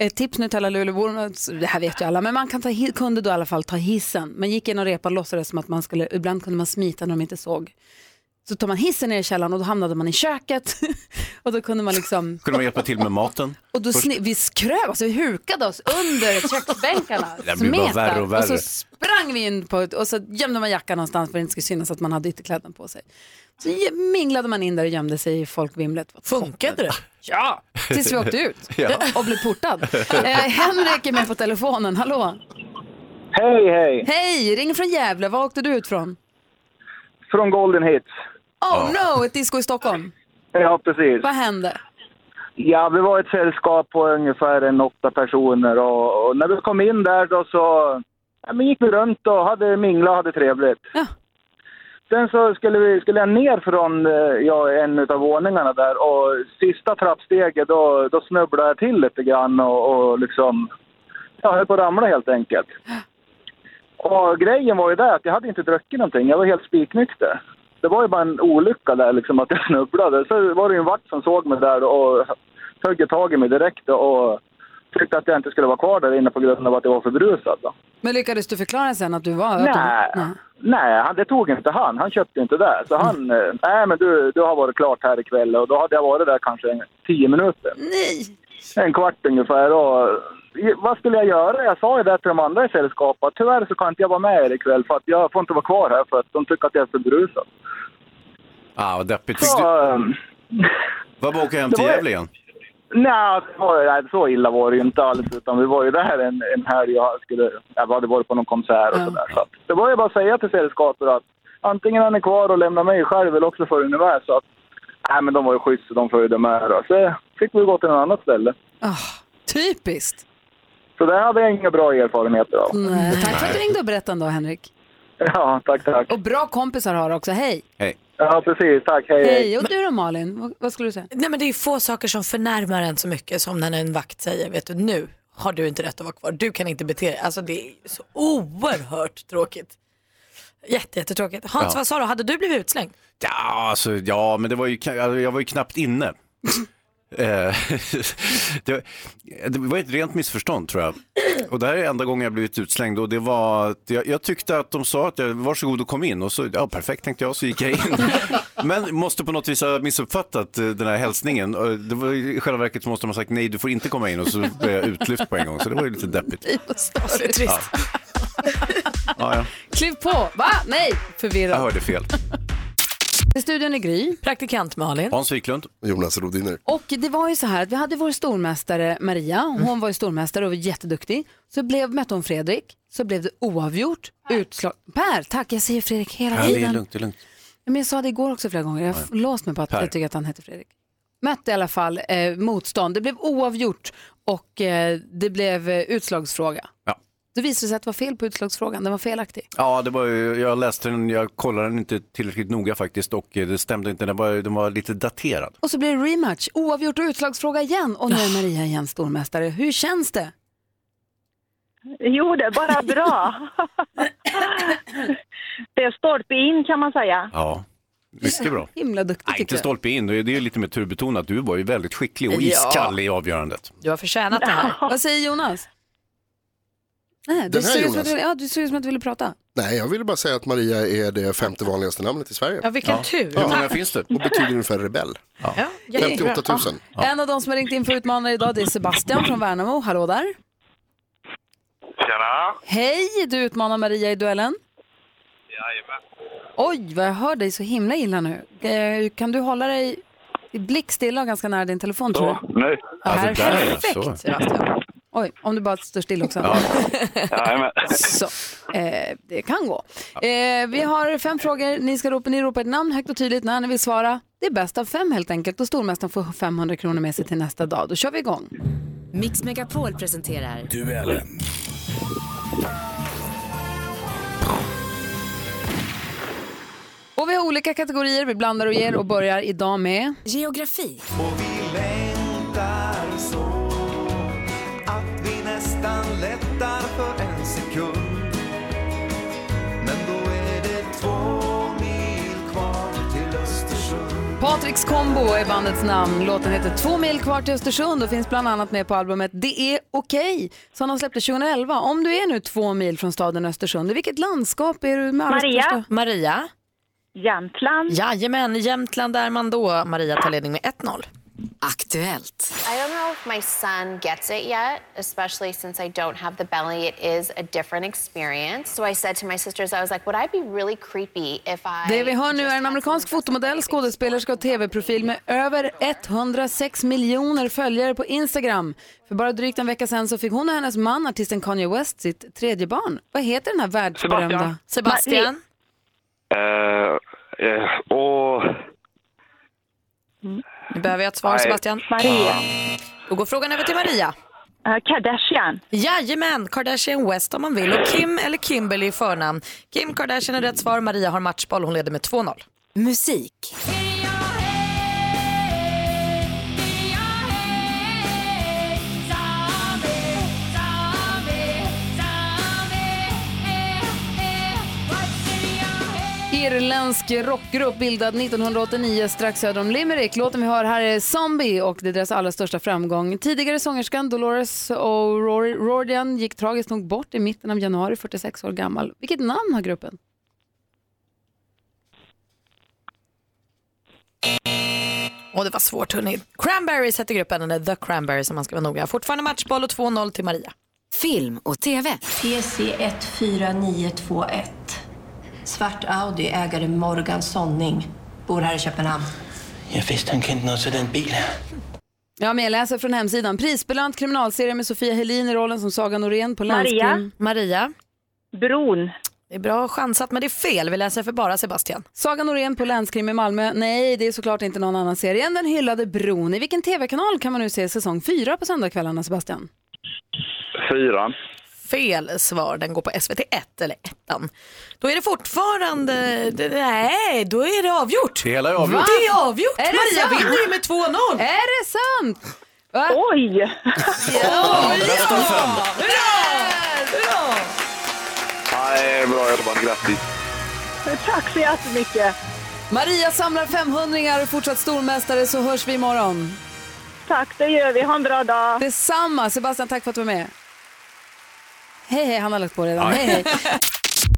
A: Ett tips nu till alla Luleåbor, det här vet ju alla, men man kan ta, hi- kunde då i alla fall ta hissen. Man gick in och repade och låtsades som att man skulle, ibland kunde man smita när de inte såg. Så tog man hissen ner i källaren och då hamnade man i köket. [LAUGHS] och då kunde man liksom,
B: Kunde man hjälpa till med maten?
A: och då sni, vi skröv, alltså vi hukade oss under
B: [LAUGHS]
A: köksbänkarna.
B: Det blir bara
A: Smeta.
B: värre och värre.
A: så sprang vi in på, ett- och så gömde man jackan någonstans för att det inte skulle synas att man hade ytterkläderna på sig. Så minglade man in där och gömde sig i folkvimlet.
C: Funkade det?
A: Ja, tills vi
B: [LAUGHS]
A: åkte ut
B: Ja.
A: och blev portad. Eh, Henrik är med på telefonen, hallå.
L: Hej, hej!
A: Hej, ring från Gävle, var åkte du ut från?
L: Från Golden Hits.
A: Oh no, ett disco i Stockholm.
L: Ja, precis.
A: Vad hände?
L: Ja, vi var ett sällskap på ungefär en åtta personer och, och när vi kom in där då så ja, men gick vi runt och hade mingla och hade trevligt.
A: Ja.
L: Sen så skulle, vi, skulle jag ner från eh, ja, en av våningarna där och sista trappsteget då, då snubblade jag till lite grann och, och liksom, jag höll på att ramla helt enkelt. Och grejen var ju där att jag hade inte druckit någonting, jag var helt spiknykter. Det var ju bara en olycka där liksom att jag [LAUGHS] snubblade. Så var det ju en vakt som såg mig där och högg tag i mig direkt och tyckte att jag inte skulle vara kvar där inne på grund av att jag var för brusad. Då.
A: Men lyckades du förklara sen att du var öppen?
L: Nej, nej han, det tog inte han. Han köpte inte det. Så han, eh, nej men du, du har varit klart här ikväll och då hade jag varit där kanske en, tio minuter.
A: Nej.
L: En kvart ungefär och i- vad skulle jag göra? Jag sa ju det till de andra i sällskapet att tyvärr så kan inte jag vara med er ikväll för att jag får inte vara kvar här för att de tycker att jag är för brusad.
B: Ah, vad deppigt. Fick
L: Så,
B: du,
L: eh,
B: vad var åka hem till
L: Det var-
B: Gävle igen?
L: Nej, det var, nej, så illa var det ju inte alls. Utan vi var ju där en, en helg jag, skulle, jag hade varit på någon konsert och
A: Ja.
L: sådär. Så att det var ju bara att säga till sällskapet att antingen är ni kvar och lämnar mig själv eller också får ni med. Så att, nej, men de var ju schyssta, de följde med. Då. Så fick vi gå till något annat ställe.
A: Ah, typiskt.
L: Så där hade jag inga bra erfarenheter av.
A: Nej. Tack för att du ringde och berättade ändå Henrik.
L: [LAUGHS] Ja, tack, tack.
A: Och bra kompisar har du också, hej.
B: Hej.
L: Ja, precis. Tack, hej. hej.
A: Hej, och du då Malin, vad, vad skulle du säga?
C: Nej men det är få saker som förnärmar en så mycket som när en vakt säger, vet du nu har du inte rätt att vara kvar, du kan inte bete dig. Alltså det är så oerhört tråkigt. Jätte, jättetråkigt. Hans,
B: Ja.
C: vad sa du, hade du blivit utslängd?
B: Ja, alltså, ja men det var ju, kna- alltså, jag var ju knappt inne. Eh, [LAUGHS] det, det var ett rent missförstånd tror jag. Och det här är enda gången jag blivit utslängd och det var, att jag, jag tyckte att de sa att jag, varsågod och kom in och så, ja perfekt tänkte jag, så gick jag in. Men måste på något vis ha missuppfattat eh, den här hälsningen. Och Det var, ju- I själva verket så måste de ha sagt nej, du får inte komma in och så blev jag utlyft på en gång, så det var ju lite deppigt.
C: Det är trist.
B: Ja, ja,
A: Kliv på, va? Nej,
B: jag
A: förvirrad.
B: hörde fel.
A: I studion är Gry.
C: Praktikant Malin.
B: Hans Wiklund,
E: Jonas Rodiner.
A: Och det var ju så här att vi hade vår stormästare Maria,
B: Mm.
A: hon var ju stormästare och var jätteduktig. Så blev, mötte hon Fredrik, så blev det oavgjort, utslag. Per, tack, jag säger Fredrik hela
B: ja, det är
A: tiden.
B: lugnt, det är långt.
A: Ja, Men jag sa det igår också flera gånger, jag har låst mig på att
B: Per.
A: jag tycker att han heter Fredrik. Mötte i alla fall eh, motstånd, det blev oavgjort och eh, det blev eh, utslagsfråga.
B: Ja.
A: Då visade det sig att det var fel på utslagsfrågan, den var felaktig.
B: Ja, det var, ju- jag läste den, jag kollade den inte tillräckligt noga faktiskt och eh, det stämde inte, den var, den var lite daterad.
A: Och så blev det rematch, oavgjort och utslagsfråga igen. Och nu är Maria igen stormästare. Hur känns det?
J: Jo, det är bara bra. [LAUGHS] det är stolpe in kan man säga.
B: Ja, mycket bra.
A: Himla duktig
B: Nej,
A: tycker
B: inte
A: jag.
B: stolpe in, det är det är lite mer turbetonat. Du var ju väldigt skicklig och
C: Ja.
B: iskall i avgörandet.
C: Du har förtjänat det här.
A: Vad säger Jonas? Nej, du
E: Den här
A: ser ut som att,
E: Jonas?
A: du- ja, du ser ut som att du ville prata.
E: Nej, jag ville bara säga att Maria är det femte vanligaste namnet i Sverige.
C: Ja, vilken tur.
B: Hur många finns det?
E: Och betyder ungefär rebell.
C: Ja, jättebra.
E: 58 000.
A: En av de som har ringt in för utmanare idag det är Sebastian från Värnamo. Hallå där.
F: Tjena!
A: Hej, du utmanar Maria i duellen.
D: Jajamän.
A: Oj, vad jag hör dig så himla illa nu. Eh, Kan du hålla dig i blickstilla och ganska nära din telefon tror du?
D: Nej.
A: Ja, här, perfekt, Sebastian. Oj, om du bara står still också.
D: Jajamän.
A: [LAUGHS] Så, eh, det kan gå. Eh, vi har fem frågor. Ni ska ropa, ni ropar ett namn högt och tydligt när ni vill svara. Det är bäst av fem helt enkelt och stormästaren får 500 kronor med sig till nästa dag. Då kör vi igång.
M: Mix Megapol presenterar
N: Duellen.
A: Och vi har olika kategorier. Vi blandar och ger och börjar idag med...
M: Geografi.
N: Och vi längtar så att vi nästan lättar för en sekund. Men då är det två mil kvar till Östersund.
A: Patricks Combo är bandets namn. Låten heter Två mil kvar till Östersund och finns bland annat med på albumet Det är okej som de släppte 2011. Om du är nu två mil från staden Östersund, i vilket landskap är du? Med allra
C: Maria.
A: största-
C: Maria. Jämtland. Jajamän, Jämtland är man då. Maria tar ledning med 1-0.
M: Aktuellt.
O: I don't know if my son gets it yet, especially since I don't have the belly. It is a different experience. So I said to my sisters, I was like, would I be really creepy if I.
A: Det vi hör nu är en amerikansk fotomodell, skådespelerska och tv-profil med över 106 miljoner följare på Instagram. För bara drygt en vecka sedan så fick hon och hennes man, artisten Kanye West, sitt tredje barn. Vad heter den här världsberömda...
C: Sebastian.
D: Eh, eh, och...
C: Nu behöver jag ett svar,
D: Nej.
C: Sebastian.
D: Maria.
C: Då går frågan över till Maria.
J: Eh,
C: Kardashian. Jajamän, Kardashian West om man vill. Och Kim eller Kimberly i förnamn. Kim Kardashian är rätt svar. Maria har matchboll. Hon leder med 2-0. Musik.
A: Irländsk rockgrupp bildad 1989 strax söder om Limerick. Låten vi hör här är Zombie och det är deras allra största framgång. Tidigare sångerskan Dolores O'Riordan gick tragiskt nog bort i mitten av januari, 46 år gammal. Vilket namn har gruppen?
C: Åh, det var svårt hörni. Cranberries heter gruppen, eller The Cranberries om man ska vara noga. Fortfarande matchboll och 2-0 till Maria. Film och TV.
P: PC 149921. Svart Audi, ägare Morgan Sonning. Bor här i Köpenhamn.
K: Jag visste han kunde något till den bilen.
A: Ja, men jag läser från hemsidan. Prisbelönt kriminalserie med Sofia Helin i rollen som Saga Norén på Landskrim.
C: Maria. Bron. Det är bra chansat men det är fel. Vi läser för bara Sebastian.
A: Saga Norén på Länskrim i Malmö. Nej, det är såklart inte någon annan serie än den hyllade Bron. I vilken tv-kanal kan man nu se säsong 4 på söndagskvällarna, Sebastian?
D: Fyran.
C: Fel svar. Den går på SVT 1 eller 1. Då är det fortfarande... det- Nej, då är det avgjort.
B: Det hela är avgjort.
C: Va? Det är avgjort.
A: Är det
C: Maria
A: sant?
C: vinner ju med 2-0.
A: Är det sant?
J: [LAUGHS]
C: Oj!
D: Bäst av fem.
C: Bra!
D: Nej, bra jobbat. Grattis.
A: Tack så jättemycket. Maria samlar 500 och fortsatt stormästare så hörs vi imorgon. Tack, det gör vi. Ha en bra dag. Detsamma. Sebastian, tack för att du var med. Hej, hej. Han har lagt på redan.
N: Aj.
A: Hej, hej.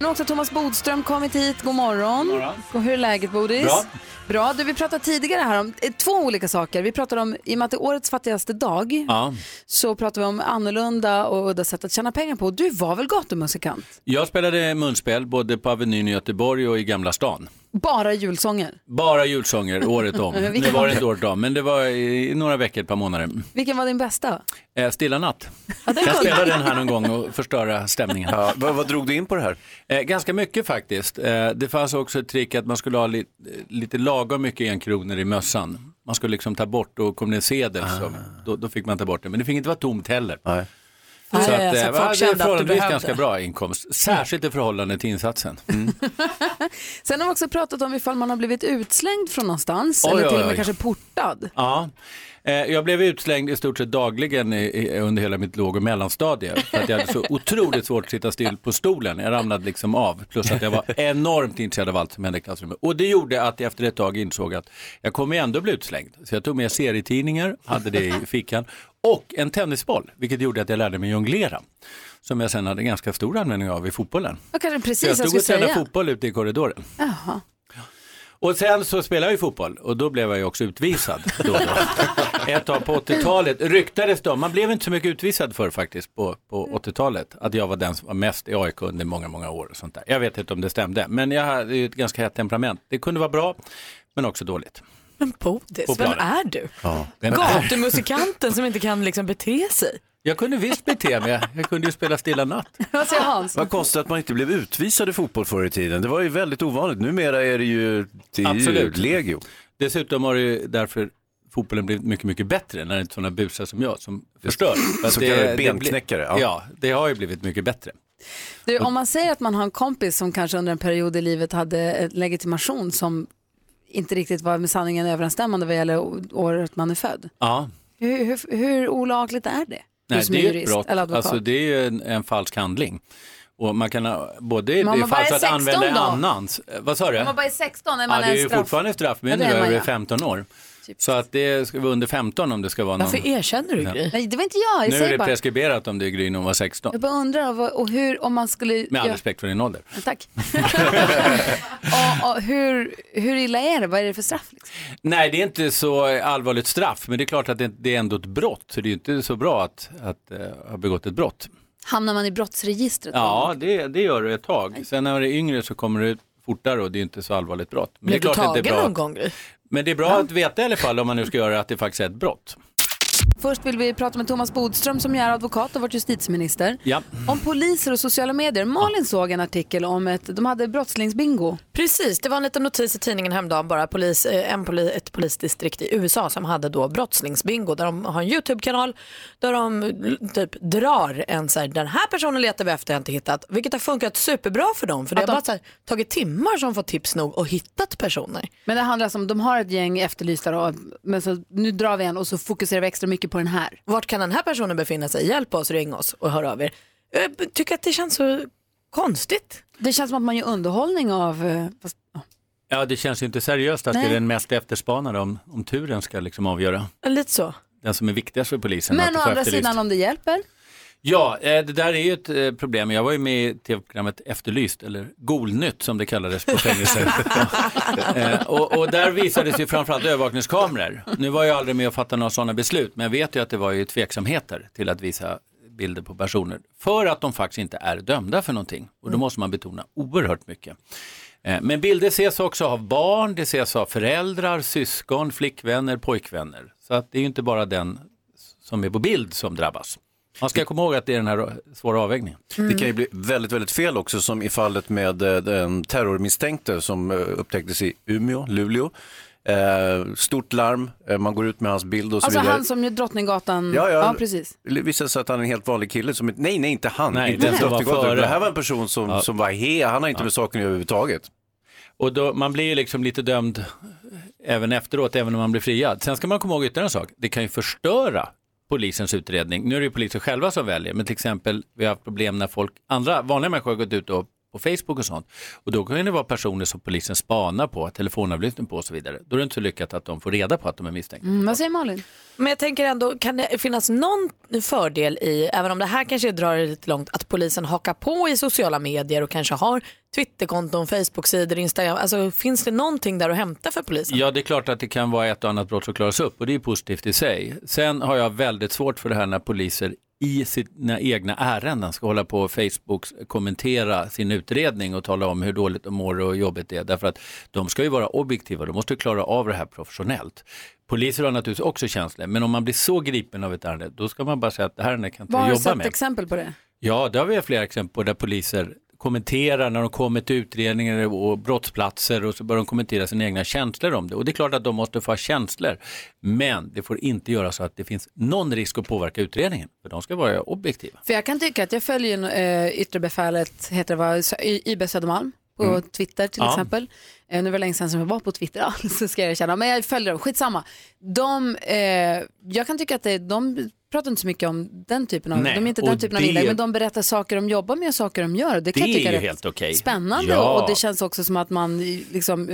A: Nu har också Thomas Bodström kommit hit. God morgon.
N: God morgon.
A: Och Hur är läget, Bodis?
N: Bra.
A: Bra. Du, vi pratade tidigare här om eh, två olika saker. Vi pratade om, i och med att det är årets fattigaste dag,
Q: Ja.
A: så pratade vi om annorlunda och udda sätt att tjäna pengar på. Du var väl gatumusikant?
Q: Jag spelade munspel både på Avenyn i Göteborg och i Gamla stan.
A: Bara julsånger?
Q: Bara julsånger
A: [LAUGHS]
Q: året om.
A: Vilken
Q: det var
A: var
Q: inte
A: det?
Q: året om, men det var i några veckor, ett par månader.
A: Vilken var din bästa?
Q: Eh, Stilla natt. kan spela den här någon gång och förstöra stämningen.
B: vad, drog du in på det här?
Q: Eh, ganska mycket faktiskt. Eh, det fanns också ett trick att man skulle ha li- lite lagom mycket enkronor i mössan. Man skulle liksom ta bort, och kom det en sedel så,
D: Ah.
Q: då, då fick man ta bort det. Men det fick inte vara tomt heller. Så
C: Nej,
Q: att, eh,
A: alltså,
C: så
Q: ja,
C: folk
Q: det
C: kände
Q: är
C: att du
Q: förhållandevis
C: behövde.
Q: ganska bra inkomst, särskilt i förhållande till insatsen. Mm.
A: Sen har vi också pratat om ifall man har blivit utslängd från någonstans
Q: Oj,
A: eller till
Q: oj,
A: och med
Q: oj.
A: kanske portad.
Q: Ja, eh, jag blev utslängd i stort sett dagligen i, i, under hela mitt låg och mellanstadie. För att jag hade [LAUGHS] så otroligt svårt att sitta still på stolen. Jag ramlade liksom av. Plus att jag var enormt intresserad av allt som hände i klassrummet. Och det gjorde att jag efter ett tag insåg att jag kommer ju ändå bli utslängd. Så jag tog med serietidningar, hade det i
B: [LAUGHS]
Q: fickan. Och en tennisboll, vilket gjorde att jag lärde mig jonglera. Som jag sen hade ganska stor användning av i fotbollen.
A: Jag kanske
Q: Så jag
A: precis jag
Q: stod
A: skulle
Q: och tränade
A: säga.
Q: fotboll ute i korridoren.
A: Jaha. [LAUGHS]
Q: Och sen så spelade jag ju fotboll och då blev jag ju också utvisad. Då och
B: [LAUGHS]
Q: då. Ett tag på 80-talet ryktades det om, man blev inte så mycket utvisad för faktiskt på, på
B: Mm.
Q: 80-talet, att jag var den som var mest i AIK under många, många år och sånt där. Jag vet inte om det stämde, men jag hade ju ett ganska hett temperament. Det kunde vara bra, men också dåligt.
C: Men Bodis,
Q: På
C: vem
Q: planen.
C: är du?
Q: Ja, vem är-
C: Gatumusikanten som inte kan liksom bete sig.
Q: Jag kunde visst bete mig, jag kunde ju spela Stilla natt.
A: Vad säger Hans?
B: Vad konstigt att man inte blev utvisad i fotboll förr i tiden. Det var ju väldigt ovanligt. Numera är det ju, det är ju
Q: Absolut.
B: legio.
Q: Dessutom har det ju därför fotbollen blivit mycket, mycket bättre när det är inte sådana busar som jag som förstör. För att
B: Så kallade
Q: det blir-
B: benknäckare, ja.
Q: Ja. det har ju blivit mycket bättre.
A: Du, om man säger att man har en kompis som kanske under en period i livet hade en legitimation som inte riktigt var med sanningen överensstämmande vad gäller å- året man är född.
Q: Ja,
A: Hur, hur, hur olagligt är det? Du
Q: Nej,
A: som
Q: det är ju ett
A: jurist
Q: brott.
A: eller advokat.
Q: Alltså, det är ju en, en falsk handling. Och man kan ha, både i
A: Men om
Q: det
A: man bara
Q: fallet
A: är
Q: att använda
A: 16 då?
Q: annans. Eh, Vad sa du?
A: Om man bara är 16, är
Q: Ja,
A: man
Q: det
A: en
Q: är ju
A: straff-
Q: fortfarande straffmyndig
A: Ja, det är man,
Q: över
A: ja.
Q: 15 år. Så att det ska vara under 15 om det ska vara någon.
A: Varför
C: erkänner
Q: du, Ja. Gry?
A: Nej, det var inte jag. Jag
Q: Nu är
A: säger
Q: det
A: bara.
Q: preskriberat om det är Gry när hon var 16.
A: Jag bara undrar vad, och hur, om man skulle...
Q: Med all
A: Ja,
Q: respekt för din ålder.
A: tack. [LAUGHS] och, och, hur, hur illa är det? Vad är det för straff? Liksom?
Q: Nej, det är inte så allvarligt straff, men det är klart att det, det är ändå ett brott. Så det är ju inte så bra att, att eh, ha begått ett brott.
A: Hamnar man i brottsregistret?
Q: Ja, det, det gör du ett tag. Sen när du är yngre så kommer du fortare och det är inte så allvarligt brott. Men det är
C: Blev du
Q: klart att det är
C: tagen
Q: bra
C: någon
Q: att-
C: gång? Gry?
Q: Men det är bra att veta i alla fall om man nu ska göra att det faktiskt är ett brott.
A: Först vill vi prata med Thomas Bodström som ju är advokat och varit justitieminister.
Q: Ja.
A: Om poliser och sociala medier. Malin såg en artikel om ett, de hade brottslingsbingo.
C: Precis, det var en liten notis i tidningen häromdagen bara. Polis, eh, en poli, ett polisdistrikt i USA som hade då brottslingsbingo där de har en YouTube-kanal där de eh, typ drar en så här, den här personen letar vi efter, jag har inte hittat. Vilket har funkat superbra för dem för det
A: Att
C: har
A: de-
C: bara så här, tagit timmar som fått tips nog och hittat personer.
A: Men det handlar alltså om, de har ett gäng efterlysta då, men så, nu drar vi en och så fokuserar vi extra mycket på den här.
C: Vart kan den här personen befinna sig? Hjälp oss, ring oss och hör av er. Jag tycker att det känns så konstigt.
A: Det känns som att man gör underhållning av, eh, fast,
Q: Ja, det känns ju inte seriöst att
A: Nej.
Q: det är den mest efterspanade om, om turen ska liksom avgöra.
C: Lite så.
Q: Den som är viktigast för polisen. att
A: men å
Q: få
A: andra
Q: efterlyst.
A: sidan om det hjälper.
Q: Ja, eh, det där är ju ett eh, problem. Jag var ju med i tv-programmet Efterlyst, eller Golnytt som det kallades på fängelser. Eh, och, och där visades ju framförallt övervakningskameror. Nu var jag aldrig med och fattade några sådana beslut, men jag vet ju att det var ju tveksamheter till att visa bilder på personer för att de faktiskt inte är dömda för någonting. Och då måste man betona oerhört mycket. Eh, Men bilder ses också av barn, det ses av föräldrar, syskon, flickvänner, pojkvänner. Så att det är ju inte bara den som är på bild som drabbas. Man ska komma ihåg att det är den här svåra avvägningen.
A: Mm.
B: Det kan ju bli väldigt, väldigt fel också som i fallet med eh, den terrormisstänkte som eh, upptäcktes i Umeå, Luleå. Eh, stort larm, eh, man går ut med hans bild och så
A: Alltså
B: vidare.
A: han som ju Drottninggatan,
B: Ja, ja.
A: Mm. precis.
B: Det visade sig att han är en helt vanlig kille. Som, nej, nej, inte han.
Q: Nej,
B: inte
Q: den som var
B: Drottninggatan.
Q: före.
B: Det här var en person som,
Q: Ja.
B: som var he, han har inte med saken överhuvudtaget.
Q: Och då, man blir ju liksom lite dömd även efteråt, även om man blir friad. Sen ska man komma ihåg ytterligare en sak. Det kan ju förstöra polisens utredning. Nu är det ju polisen själva som väljer, men till exempel vi har haft problem när folk, andra vanliga människor har gått ut och på Facebook och sånt. Och då kan det vara personer som polisen spanar på, telefonavlyssning på och så vidare. Då är det inte så lyckat att de får reda på att de är misstänkta.
A: Mm, vad säger Malin?
C: Men jag tänker ändå, kan det finnas någon fördel i, även om det här kanske drar det lite långt, att polisen hakar på i sociala medier och kanske har Twitterkonton, Facebooksidor, Instagram. Alltså finns det någonting där att hämta för polisen?
Q: Ja, det är klart att det kan vara ett och annat brott som klaras upp och det är positivt i sig. Sen har jag väldigt svårt för det här när poliser i sina egna ärenden ska hålla på och Facebook kommentera sin utredning och tala om hur dåligt de mår och jobbigt det är. Därför att de ska ju vara objektiva, de måste ju klara av det här professionellt. Poliser har naturligtvis också känslor, men om man blir så gripen av ett ärende, då ska man bara säga att det här ärendet kan inte
A: Vad
Q: jag
A: har du
Q: jobba
A: sett
Q: med.
A: exempel på det?
Q: Ja, det har vi flera exempel på där poliser kommenterar när de kommer till utredningar och brottsplatser och så börjar de kommentera sina egna känslor om det. Och det är klart att de måste få ha känslor, men det får inte göra så att det finns någon risk att påverka utredningen, för de ska vara objektiva.
A: För jag kan tycka att jag följer en, eh, yttre befälet, heter det vad, Sö- Y- YB Södermalm på
Q: Mm.
A: Twitter till
Q: Ja.
A: exempel. Eh, nu var det länge sedan som jag var på Twitter alls, [LAUGHS] så ska jag erkänna. Men jag följer dem, skitsamma. De, eh, jag kan tycka att det, de pratar inte så mycket om den typen av,
Q: Nej,
A: de är inte den
Q: och
A: typen av
Q: det-
A: inlägg, men de berättar saker de jobbar med och saker de gör. Det kan
Q: Det
A: jag tycka
Q: är ju
A: rätt
Q: helt okej.
A: spännande
Q: Ja.
A: och det känns också som att man liksom,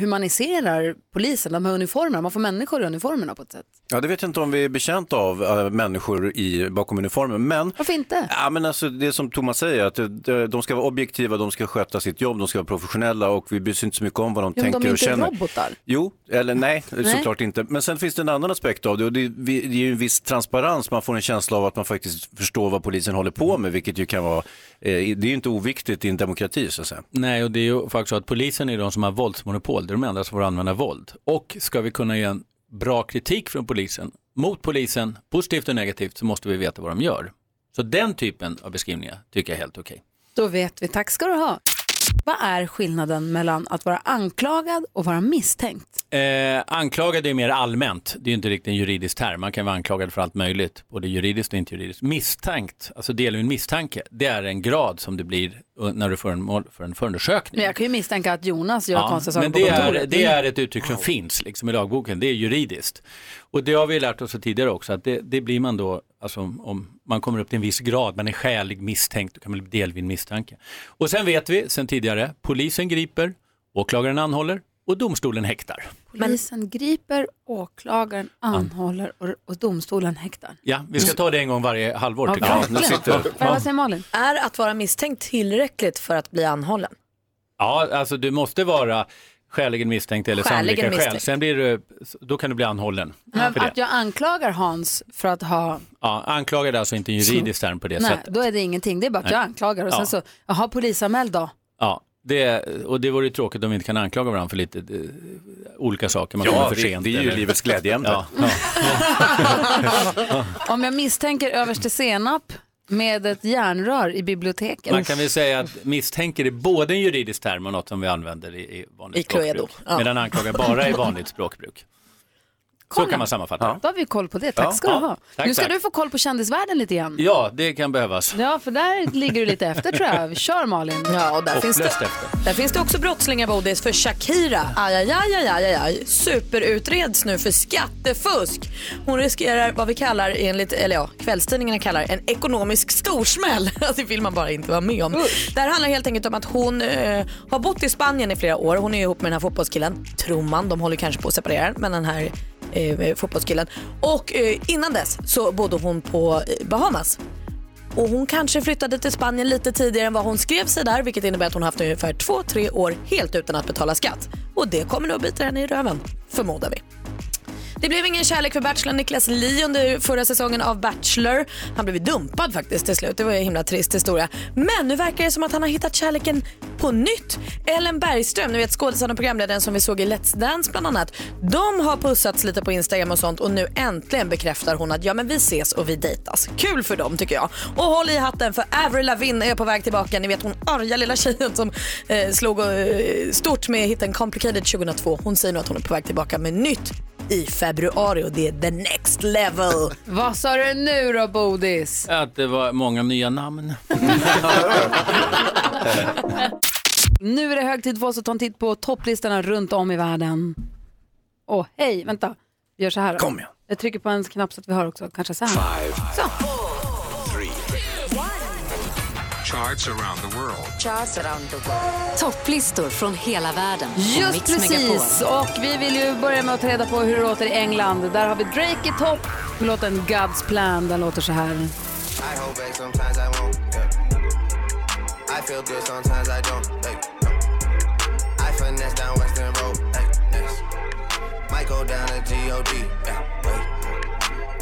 A: humaniserar polisen, de här uniformerna, man får människor i uniformerna på ett sätt.
B: Ja, det vet jag inte om vi är betjänta av eh, människor i, bakom uniformen, men
A: Varför inte?
B: Ja, men alltså, det är som Thomas säger, att eh, de ska vara objektiva, de ska sköta sitt jobb, de ska vara professionella och vi bryr oss inte så mycket mycket om vad de
A: Jo, men
B: tänker
A: de är
B: och
A: inte
B: känner.
A: robotar.
B: Jo, eller nej,
A: [LAUGHS] Nej.
B: såklart inte. Men sen finns det en annan aspekt av det och det är vi- det är ju en viss transparens. Man får en känsla av att man faktiskt förstår vad polisen håller på med, vilket ju kan vara, eh, det är ju inte oviktigt i en demokrati så att säga.
Q: Nej, och det är ju faktiskt så att polisen är de som har våldsmonopol, det är de enda som får använda våld. Och ska vi kunna ge en bra kritik från polisen, mot polisen, positivt och negativt, så måste vi veta vad de gör. Så den typen av beskrivningar tycker jag är helt okej.
A: Då vet vi. Tack ska du ha. Vad är skillnaden mellan att vara anklagad och vara misstänkt?
Q: Eh, anklagad är mer allmänt, det är ju inte riktigt en juridisk term. Man kan vara anklagad för allt möjligt, både juridiskt och inte juridiskt. Misstänkt, alltså del av en misstanke, det är en grad som det blir eh, när du får en mål för en förundersökning.
A: Men jag kan ju misstänka att Jonas gör konstiga saker
Q: men
A: på
Q: det är,
A: kontoret. Mm.
Q: det är ett uttryck som finns liksom, i lagboken, det är juridiskt. Och det har vi lärt oss tidigare också, att det, det blir man då, alltså, om, om man kommer upp till en viss grad, man är skälig misstänkt, då kan man bli delvid misstanke. Och sen vet vi sen tidigare, polisen griper, åklagaren anhåller och domstolen häktar.
A: Polisen griper, åklagaren anhåller och, och domstolen häktar.
Q: Ja, vi ska ta det en gång varje halvår
A: Ja,
Q: tycker jag.
A: verkligen. Vad- Vad säger Malin?
C: Är att vara misstänkt tillräckligt för att bli anhållen?
Q: Ja, alltså du måste vara skäligen misstänkt eller
C: Skäligen
Q: sannolika skäl.
C: misstänkt.
Q: Sen blir du, då kan du bli anhållen.
A: Men
Q: för det.
A: att jag anklagar Hans för att ha...
Q: Ja, anklagad är alltså inte en juridisk term på det
A: Nej,
Q: sättet.
A: då är det ingenting. Det är bara att
Q: Nej.
A: jag anklagar och sen
Q: Ja.
A: så, jaha, polisanmäld då?
Q: Ja, det, och det vore ju tråkigt om vi inte kan anklaga varandra för lite eh, olika saker. Man
B: Ja,
Q: kommer för
B: det-
Q: sent.
B: det är ju livets glädjeämne.
Q: Ja,
A: Om jag misstänker överste Senap med ett järnrör i biblioteket.
Q: Man kan väl säga att misstänker är både en juridisk term och något som vi använder i, i vanligt
A: I Cluedo,
Q: språkbruk.
A: ja.
Q: Medan anklagar bara är vanligt språkbruk. Så kan man sammanfatta det.
A: Då har vi koll på det. Tack
Q: Ja.
A: ska du
Q: Ja.
A: ha.
Q: Tack,
A: nu ska
Q: tack.
A: du få koll på kändisvärlden lite igen.
Q: Ja, det kan behövas.
A: Ja, för där ligger du lite efter tror jag. Kör Malin.
C: Ja, och där finns det...
Q: Hopplöst efter.
C: Där finns det också brottslingar Bodis för Shakira. Aj, aj, aj, aj, aj, aj, aj. Superutreds nu för skattefusk. Hon riskerar vad vi kallar, enligt, eller ja, kvällstidningarna kallar en ekonomisk storsmäll. [LAUGHS] Alltså, Det vill man bara inte vara med om. Det här handlar helt enkelt om att hon eh, har bott i Spanien i flera år. Hon är ihop med den här fotbollskillen, tror man. De håller kanske på att separera, men den här eh, fotbollskillen. Och eh, innan dess så bodde hon på eh, Bahamas. Och hon kanske flyttade till Spanien lite tidigare än vad hon skrev sig där vilket innebär att hon haft ungefär två, tre år helt utan att betala skatt. Och det kommer nog att bita henne i röven, förmodar vi. Det blev ingen kärlek för bachelorn Niklas Li under förra säsongen av Bachelor. Han blev dumpad faktiskt till slut. Det var ju en himla trist historia. Men nu verkar det som att han har hittat kärleken på nytt. Ellen Bergström, ni vet skådespelaren och programledaren som vi såg i Let's Dance bland annat. De har pussats lite på Instagram och sånt och nu äntligen bekräftar hon att ja men vi ses och vi dejtas. Kul för dem tycker jag. Och håll i hatten för Avril Lavigne är på väg tillbaka. Ni vet hon arga lilla tjejen som eh, slog eh, stort med hiten Complicated 2002. Hon säger nu att hon är på väg tillbaka med nytt i februari och det är the next level.
A: Vad sa du nu då Bodis?
Q: Att det var många nya namn.
A: Nu är det hög tid för oss att ta en titt på topplistorna runt om i världen. Åh, hej, vänta. Vi gör så här. då.
N: Kom igen.
A: Jag trycker på en knapp så att vi hör också. Kanske så här. Så.
N: Charts around the world.
M: Topplistor från hela världen. på
A: Just
M: Mix
A: precis.
M: Megapol.
A: Och vi vill ju börja med att ta reda på hur det låter i England. Där har vi Drake i topp. Låten God's Plan, den låter så här.
N: I hold back sometimes I won't. yeah. I feel good sometimes I don't. like, no. I finesse down Western Road. like, yes. Might go down to G.O.D. yeah, wait.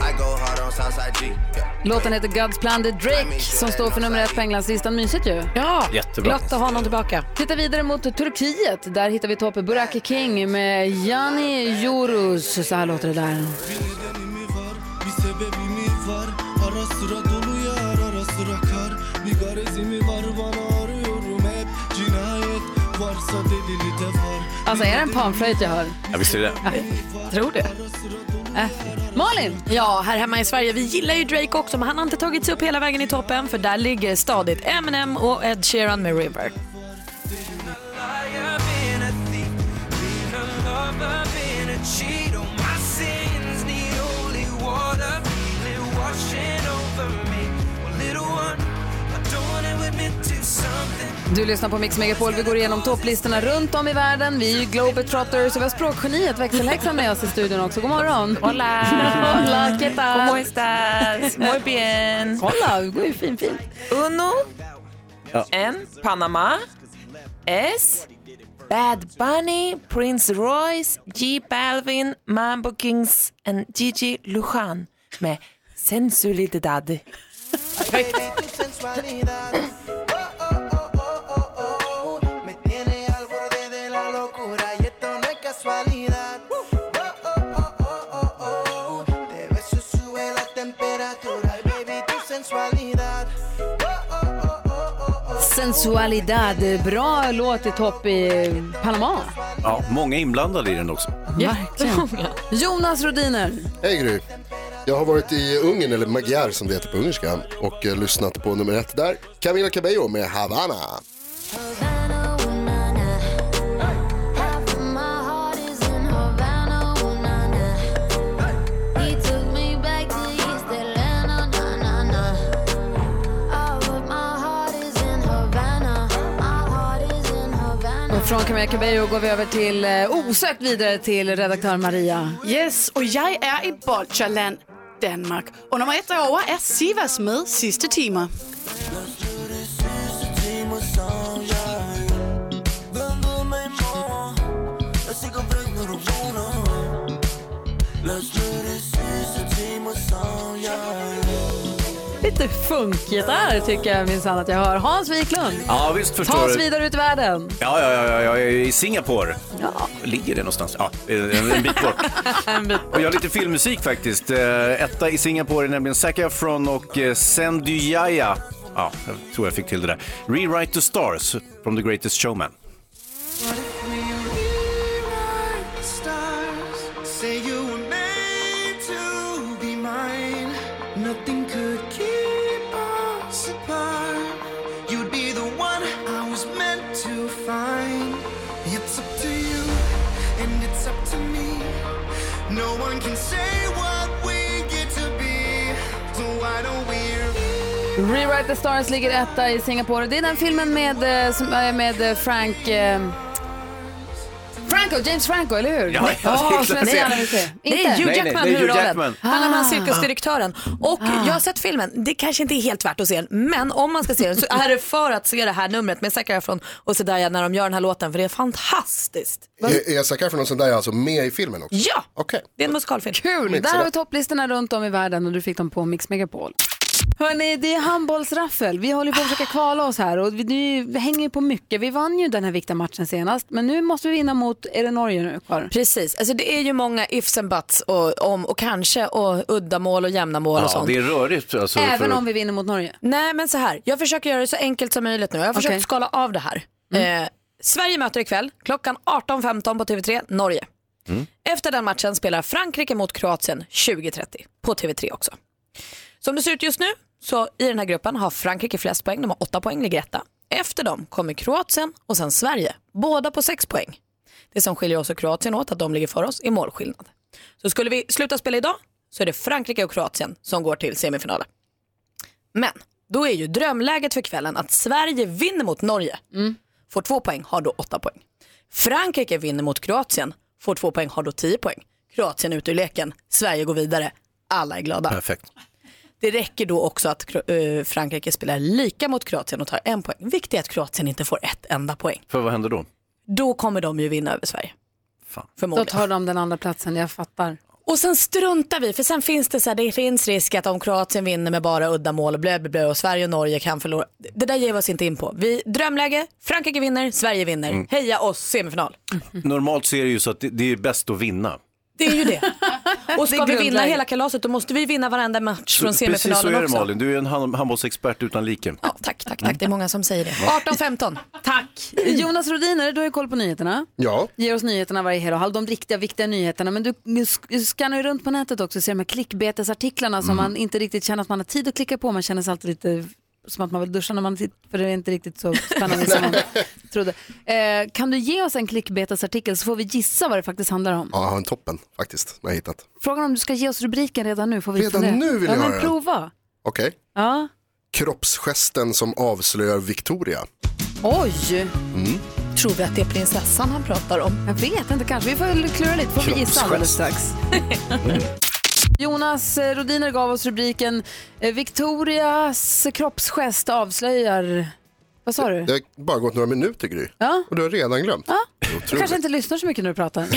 N: I go hard on Southside G. yeah.
A: Låten heter God's Plan. Det är Drake som står för nummer ett på Englandslistan. Mysigt ju. Ja,
N: Jättebra.
A: Glatt att ha honom tillbaka. Titta vidare mot Turkiet. Där hittar vi toppen Burak King med Jani Yoruz. Så här låter det där.
H: Bir sebebimi var Ara sıra dolu yar ara sıra kar Bir garezimi var bana arıyorum hep Cinayet varsa delili de var
A: Alltså är det en panflöjt jag hör? Äh.
B: Ja, visst är det.
C: Tror det.
A: Malin?
C: Ja, här hemma i Sverige. Vi gillar ju Drake också men han har inte tagit sig upp hela vägen i toppen för där ligger stadigt Eminem och Ed Sheeran med River.
A: Du lyssnar på Mix Megapol. Vi går igenom topplistorna runt om i världen. Vi är ju Globetrotters och vi har språkgeniet växelhäxan med oss i studion också. God morgon! Hola! Hola, ¿qué tal?
R: ¿Cómo estás? Muy bien.
A: Hola, det går ju fin, fin.
R: Uno
B: Ja.
R: en Panama es
C: Bad Bunny, Prince Royce, J Balvin, Mambo Kings and Gigi Lujan med Sensualidad.
H: sensualidad. Oh, oh, oh, oh, oh, oh. Me tiene al borde de la locura y esto no es casualidad. Oh, oh, oh, oh, oh, oh. Te beso y sube la temperatura y baby tu sensualidad.
A: Sensualidad, bra låt i topp i Panama.
B: Ja, många inblandade i den också.
A: Verkligen. Jonas Rodiner.
E: Hej Gry. Jag har varit i Ungern, eller Magyar som det heter på ungerska, och eh, lyssnat på nummer ett där. Camila Cabello med Havana.
A: Och från Camilla Cabello går vi över till, eh, osökt vidare till redaktör Maria.
S: Yes, og jeg er i Bolsjerland, Danmark. Og nummer et derovre er Sivas med sidste timer.
A: Lite funkigt där tycker jag minsann att jag hör. Hans Wiklund.
B: Ja,
A: Ta
B: visst förstår
A: oss
B: du.
A: vidare ut i världen.
B: Ja, ja, ja, ja, jag är i Singapore. Ligger det någonstans? Ja, en en bit bort. Och jag har lite filmmusik faktiskt. Eh, Etta i Singapore är nämligen Zac Efron och eh, Sandy Yaya. Ja, jag tror jag fick till det där. Rewrite the stars from the greatest showman.
H: Stars say you were made to be mine. Nothing could keep us apart. You'd be the one I was meant to find. It's up to you, and it's up to me. No one can say what we get to be. So why don't we?
A: Rewrite the Stars ligger etta i Singapore. Det är den filmen med, eh, som är med eh, Frank... eh, Franco, James Franco, eller hur?
H: Ja, ja, det är klart
A: som jag
H: att
A: så
H: se.
A: gärna vill se.
C: Det är
A: Inte?
C: Hugh Jackman i huvudrollen. Han är
A: Ah.
C: med cirkusdirektören. Och
M: Ah.
C: jag har sett filmen, det kanske inte är helt värt att se den, men om man ska se den så är det för att se det här numret med Zac Efron och Zendaya när de gör den här låten, för det är fantastiskt.
E: Är är Zac Efron och Zendaya alltså med i filmen också?
C: Ja!
E: Okej.
C: Det är en musikalfilm.
A: Kul! Där har vi topplistorna runt om i världen och du fick dem på Mix Megapol. Hörni, det är handbollsraffel. Vi håller på att försöka kvala oss här och vi, det vi hänger ju på mycket. Vi vann ju den här viktiga matchen senast, men nu måste vi vinna mot, är det Norge nu kvar?
C: Precis, alltså det är ju många ifs and buts och, om och kanske och udda mål och jämna mål och
B: Ja,
C: sånt.
B: det är rörigt. Alltså,
A: Även
B: för-
A: om vi vinner mot Norge?
C: Nej men så här, jag försöker göra det så enkelt som möjligt nu. Jag har försökt
A: Okej. Mm.
C: skala av det här. Eh, Sverige möter ikväll klockan 18.15 på TV3 Norge.
B: Mm.
C: Efter den matchen spelar Frankrike mot Kroatien 20.30 på TV3 också. Som det ser ut just nu så i den här gruppen har Frankrike flest poäng, de har 8 poäng, ligger etta. Efter dem kommer Kroatien och sen Sverige, båda på 6 poäng. Det som skiljer oss och Kroatien åt, att de ligger för oss, är målskillnad. Så skulle vi sluta spela idag så är det Frankrike och Kroatien som går till semifinalen. Men då är ju drömläget för kvällen att Sverige vinner mot Norge, får två poäng, har då åtta poäng. Frankrike vinner mot Kroatien, får två poäng, har då tio poäng. Kroatien ut ur leken, Sverige går vidare, alla är glada.
B: Perfekt.
C: Det räcker då också att Kro- eh, Frankrike spelar lika mot Kroatien och tar en poäng. Viktigt är att Kroatien inte får ett enda poäng.
B: För vad händer då?
C: Då kommer de ju vinna över Sverige.
A: Då
C: Förmodligen.
A: tar de den andra platsen, jag fattar.
C: Och sen struntar vi, för sen finns det så här, det finns risk att om Kroatien vinner med bara udda mål och blö, blö, blö, och Sverige och Norge kan förlora. Det där ger vi oss inte in på. Vi, drömläge, Frankrike vinner, Sverige vinner.
B: Mm.
C: Heja oss, semifinal.
A: Mm.
B: Normalt så är det ju så att det, det är bäst att vinna.
C: Det är ju det.
B: [LAUGHS]
C: Och
A: Det är
C: ska vi vinna
A: grundläge.
C: hela kalaset då måste vi vinna varenda match från
B: Precis så
C: semifinalen
B: är det
C: också.
B: Malin, du är en hand- handbollsexpert utan like.
C: tack, tack, tack. Det är många som säger det.
B: Ja.
C: 18-15.
A: Tack! Jonas Rodiner, du har ju koll på nyheterna.
E: Ja.
A: Ger oss nyheterna varje hel och halv, de riktiga viktiga nyheterna. Men du sk- skannar ju runt på nätet också och ser de här klickbetesartiklarna som
E: Mm.
A: man inte riktigt känner att man har tid att klicka på. Man känner sig alltid lite som att man vill duscha när man tittar, för det är inte riktigt så spännande som
E: [LAUGHS]
A: man trodde. Eh, kan du ge oss en klickbetesartikel så får vi gissa vad det faktiskt handlar om.
E: Ja, han toppen faktiskt, när jag hittat.
A: Frågan om du ska ge oss rubriken redan nu får vi
E: Redan
A: fundera.
E: nu vill
A: ja, men
E: jag höra den.
A: prova.
E: Okej.
A: Ja.
E: Kroppsgesten som avslöjar Victoria.
A: Oj!
E: Mm.
C: Tror vi att det är prinsessan han pratar om?
A: Jag vet inte kanske. Vi får väl klura lite. Får vi gissa alldeles strax.
E: [LAUGHS]
A: Jonas eh, Rodiner gav oss rubriken eh, Victorias kroppsgest avslöjar... Vad sa du?
E: Det har bara gått några minuter Gry.
A: Ja.
E: Och du har redan glömt.
A: Ja. Du kanske inte lyssnar så mycket när du
E: [LAUGHS]
A: pratar.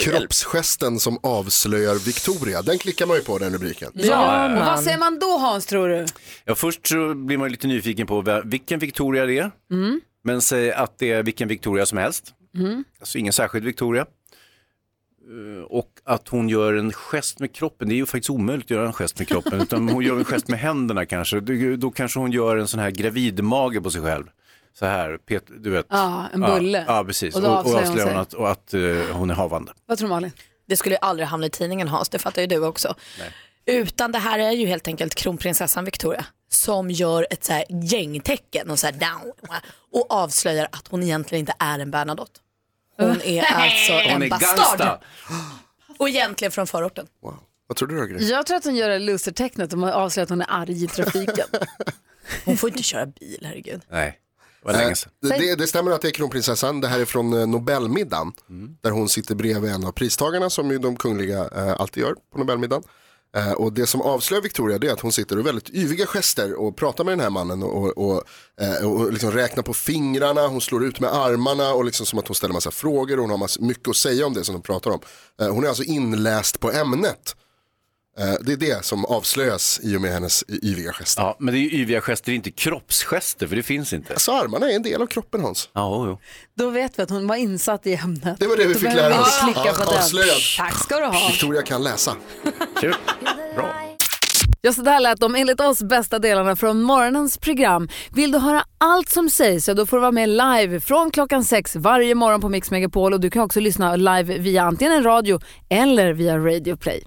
E: Kroppsgesten som avslöjar Victoria, den klickar man ju på den rubriken.
A: Ja, och vad säger man då Hans tror du?
B: Ja, först så blir man ju lite nyfiken på vem- vilken Victoria det är.
A: Mm.
B: Men säg att det är vilken Victoria som helst.
A: Mm.
B: Alltså ingen särskild Victoria. Eh, Och att hon gör en gest med kroppen, det är ju faktiskt omöjligt att göra en gest
A: [LAUGHS]
B: med kroppen, utan hon gör en gest med händerna kanske. Det- Då kanske hon gör en sån här gravidmage på sig själv. Så här, pet, du vet.
A: Ja, en bulle.
B: Ja, ja precis.
A: Och
B: Och,
A: då
B: och
A: avslöjar hon
B: avslöjar hon
A: sig.
B: att, och att eh, hon är havande.
A: Vad tror du Malin?
C: Det skulle ju aldrig hamna i tidningen Hans, det fattar ju du också. Utan det här är ju helt enkelt kronprinsessan Victoria som gör ett så här gängtecken och så här down och avslöjar att hon egentligen inte är en Bernadotte. Hon är alltså
E: Hon
C: en
E: är
C: bastard.
E: gangsta.
C: Och egentligen från förorten.
E: Vad tror du då, Gry?
A: Jag tror att hon gör det losertecknet och avslöjar att hon är arg i [LAUGHS] trafiken.
C: Hon får inte köra bil, herregud.
B: Nej, det var länge sedan.
E: Det, det, det stämmer att det är kronprinsessan. Det här är från eh, Nobelmiddagen.
B: Mm.
E: Där hon sitter bredvid en av pristagarna som ju de kungliga eh, alltid gör på Nobelmiddagen. Eh, och det som avslöjar Victoria det är att hon sitter och väldigt yviga gester och pratar med den här mannen och, och, och, eh, och liksom räknar på fingrarna, hon slår ut med armarna och liksom som att hon ställer massa frågor och hon har massa, mycket att säga om det som de pratar om. Eh, hon är alltså inläst på ämnet. Eh, det är det som avslöjas i och med hennes y- yviga gester.
B: Ja, men det är ju yviga gester, det är inte kroppsgester, för det finns inte.
E: Så armarna är en del av kroppen Hans.
B: Ja, jo.
A: Då vet vi att hon var insatt i ämnet.
E: Det var det vi
A: Då
E: fick
A: behöver
E: lära
A: vi
E: oss.
A: inte Klicka
E: Ja,
A: på den.
E: avslöjad.
A: Tack ska du ha.
E: Victoria kan läsa.
B: Kul. Bra.
A: Ja, så där lät de enligt oss bästa delarna från morgonens program. Vill du höra allt som sägs så då får du vara med live från klockan sex varje morgon på Mix Megapol och du kan också lyssna live via antingen en radio eller via Radio Play.